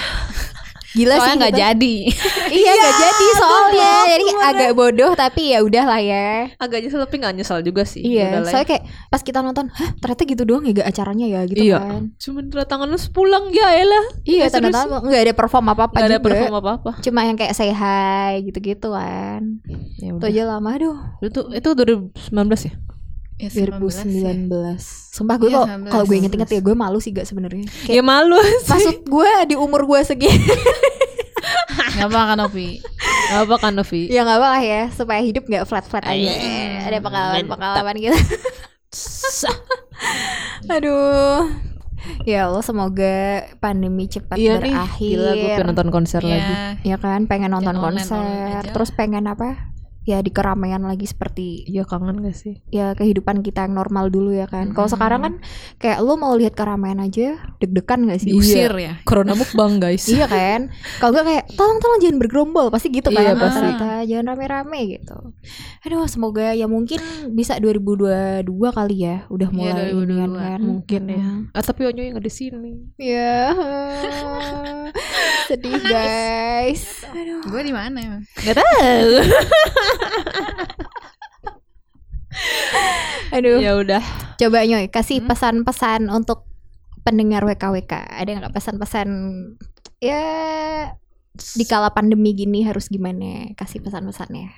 Speaker 2: Gila sih.
Speaker 3: Soalnya nggak
Speaker 2: kita.
Speaker 3: jadi.
Speaker 2: Iya, nggak jadi soalnya. Jadi agak bodoh tapi ya udahlah ya.
Speaker 1: Agak nyesel tapi gak nyesel juga sih
Speaker 2: Iya,
Speaker 1: Udah lah ya.
Speaker 2: saya kayak pas kita nonton, hah ternyata gitu doang ya gak acaranya ya gitu
Speaker 1: Iya
Speaker 2: kan.
Speaker 1: Cuman tanda tangan lu sepulang ya elah
Speaker 2: Iya,
Speaker 1: Eh, serius
Speaker 2: ternyata nggak ada perform apa-apa
Speaker 1: Gak
Speaker 2: juga.
Speaker 1: ada perform apa-apa
Speaker 2: Cuma yang kayak say hi gitu-gitu kan.
Speaker 1: ya,
Speaker 2: Itu
Speaker 1: udah.
Speaker 2: aja lama aduh.
Speaker 1: Itu, itu 2019 ya?
Speaker 3: Ya, 19 ya.
Speaker 2: 2019 Sumpah gue
Speaker 3: Iya,
Speaker 2: kok
Speaker 3: 19.
Speaker 2: kalau gue inget-inget ya gue malu sih gak sebenarnya.
Speaker 1: Ya
Speaker 2: Kayak
Speaker 1: malu sih
Speaker 2: maksud gue di umur gue segini
Speaker 3: Nggak apa kan Opi?
Speaker 1: Gak apa kan Novi
Speaker 2: ya nggak apa lah ya supaya hidup nggak flat flat aja. Ada pengalaman pengalaman gitu.
Speaker 1: Sah.
Speaker 2: Aduh. Ya Allah semoga pandemi cepat
Speaker 1: Iya nih
Speaker 2: berakhir.
Speaker 1: Gila gue pengen nonton konser lagi
Speaker 2: Ya
Speaker 3: Iya.
Speaker 2: kan pengen nonton
Speaker 3: online-online
Speaker 2: konser,
Speaker 3: aja.
Speaker 2: terus pengen apa? Ya di keramaian lagi seperti
Speaker 1: Iya kangen gak sih?
Speaker 2: ya kehidupan kita yang normal dulu ya kan. Kalau
Speaker 3: Mm-mm.
Speaker 2: sekarang kan kayak lu mau lihat keramaian aja deg-degan gak sih?
Speaker 3: Diusir ya.
Speaker 1: Corona mukbang guys
Speaker 2: Iya kan? Kalau gue kayak tolong-tolong jangan bergerombol, pasti gitu kan.
Speaker 1: Iya,
Speaker 3: pasti.
Speaker 2: Kita jangan rame-rame gitu. Aduh, semoga ya mungkin bisa 2022 kali ya, udah
Speaker 3: Iya,
Speaker 2: mulai inian
Speaker 3: 2022.
Speaker 2: kan.
Speaker 1: Mungkin ya ah, Tapi Onyo yang ada di sini
Speaker 2: Iya. Sedih guys. Aduh.
Speaker 3: Gue ya? di mana? emang?
Speaker 1: Gak tau
Speaker 2: Aduh.
Speaker 1: Ya udah
Speaker 2: Coba Nyoy kasih
Speaker 3: Hmm?
Speaker 2: pesan-pesan untuk pendengar WKWK. Ada nggak pesan-pesan ya di kala pandemi gini harus gimana? Kasih pesan-pesannya.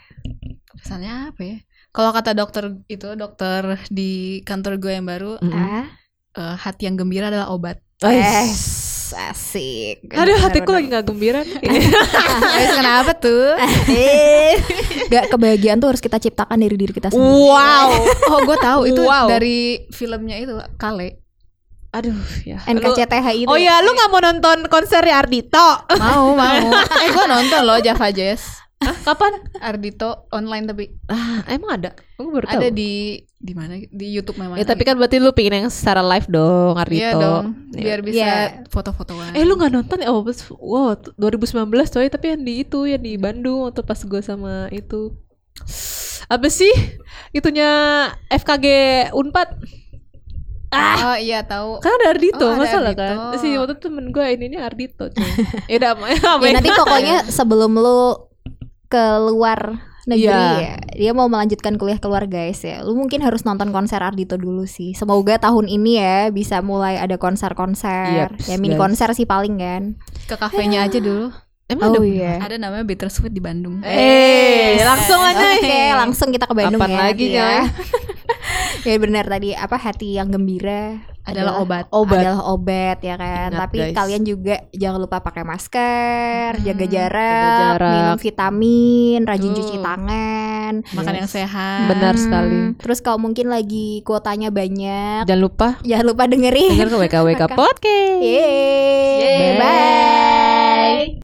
Speaker 3: Pesannya apa ya? Kalau kata dokter itu, dokter di kantor gue yang baru,
Speaker 1: Mm-mm.
Speaker 2: Ah,
Speaker 3: eh, hati yang gembira adalah obat.
Speaker 2: es asik.
Speaker 1: Aduh
Speaker 2: Bener,
Speaker 1: hatiku
Speaker 2: bener.
Speaker 1: lagi gak gembira nih
Speaker 3: Guys, kenapa tuh?
Speaker 2: Gak Eh. kebahagiaan tuh harus kita ciptakan dari diri kita
Speaker 1: Uh,
Speaker 2: sendiri.
Speaker 1: Wow
Speaker 3: Oh, gue tahu itu
Speaker 1: Wow.
Speaker 3: dari filmnya itu Kale.
Speaker 1: Aduh ya
Speaker 2: NKCTHI itu.
Speaker 1: Oh ya, lu nggak mau nonton konser ya, Ardito?
Speaker 3: Mau, mau. eh, gue nonton loh Java Jazz.
Speaker 1: Kapan?
Speaker 3: Ardito online tapi
Speaker 1: Ah, emang ada? Aku baru
Speaker 3: ada
Speaker 1: tahu.
Speaker 3: di di mana? Di YouTube memang.
Speaker 1: Ya, tapi kan berarti lu pengen yang secara live dong Ardito.
Speaker 3: Iya dong,
Speaker 1: Iya.
Speaker 3: biar
Speaker 2: Iya.
Speaker 3: bisa foto-fotoan.
Speaker 1: Eh lu nggak nonton ya? Oh, pas- wow, t- 2019 coy, tapi yang di itu yang di Bandung waktu pas gue sama itu apa sih itunya FKG Unpad
Speaker 3: Oh iya tahu.
Speaker 1: kan ada Ardito
Speaker 3: Oh, ada
Speaker 1: masalah kan
Speaker 3: Ardhito.
Speaker 1: si waktu itu temen gue ininya Ardito cuy ya udah apa
Speaker 2: Ya, nanti pokoknya sebelum lu keluar negeri
Speaker 1: Iya.
Speaker 2: ya, dia mau melanjutkan kuliah keluar guys ya. Lu mungkin harus nonton konser Ardito dulu sih. Semoga tahun ini ya bisa mulai ada konser-konser.
Speaker 1: Yaps,
Speaker 2: ya mini
Speaker 1: guys.
Speaker 2: konser sih paling kan.
Speaker 3: Ke
Speaker 1: Eh.
Speaker 3: kafenya aja dulu.
Speaker 1: emang ada
Speaker 3: Oh,
Speaker 2: iya.
Speaker 3: Ada namanya Bittersweet di Bandung.
Speaker 1: eh langsung aja
Speaker 2: Oke, langsung kita ke Bandung
Speaker 1: Kapan kan?
Speaker 2: ya.
Speaker 1: lagi,
Speaker 2: ya. ya benar tadi apa hati yang gembira
Speaker 3: Adalah obat.
Speaker 1: Obat.
Speaker 2: adalah obat ya kan.
Speaker 1: Ingat,
Speaker 2: Tapi
Speaker 1: guys.
Speaker 2: kalian juga jangan lupa pakai masker,
Speaker 3: Hmm,
Speaker 2: jaga,
Speaker 3: jaga
Speaker 2: jarak,
Speaker 1: jarak.
Speaker 2: minum vitamin, rajin
Speaker 3: Tuh.
Speaker 2: cuci tangan.
Speaker 3: Makan
Speaker 1: Yes.
Speaker 3: yang sehat.
Speaker 1: Benar sekali.
Speaker 2: Hmm, Terus kalau mungkin lagi kuotanya
Speaker 3: iya.
Speaker 2: banyak,
Speaker 1: Jangan lupa
Speaker 2: jangan lupa dengerin.
Speaker 1: dengar ke WKWK
Speaker 2: Maka-
Speaker 1: Podcast.
Speaker 2: Yeay.
Speaker 3: Yeay.
Speaker 2: Bye.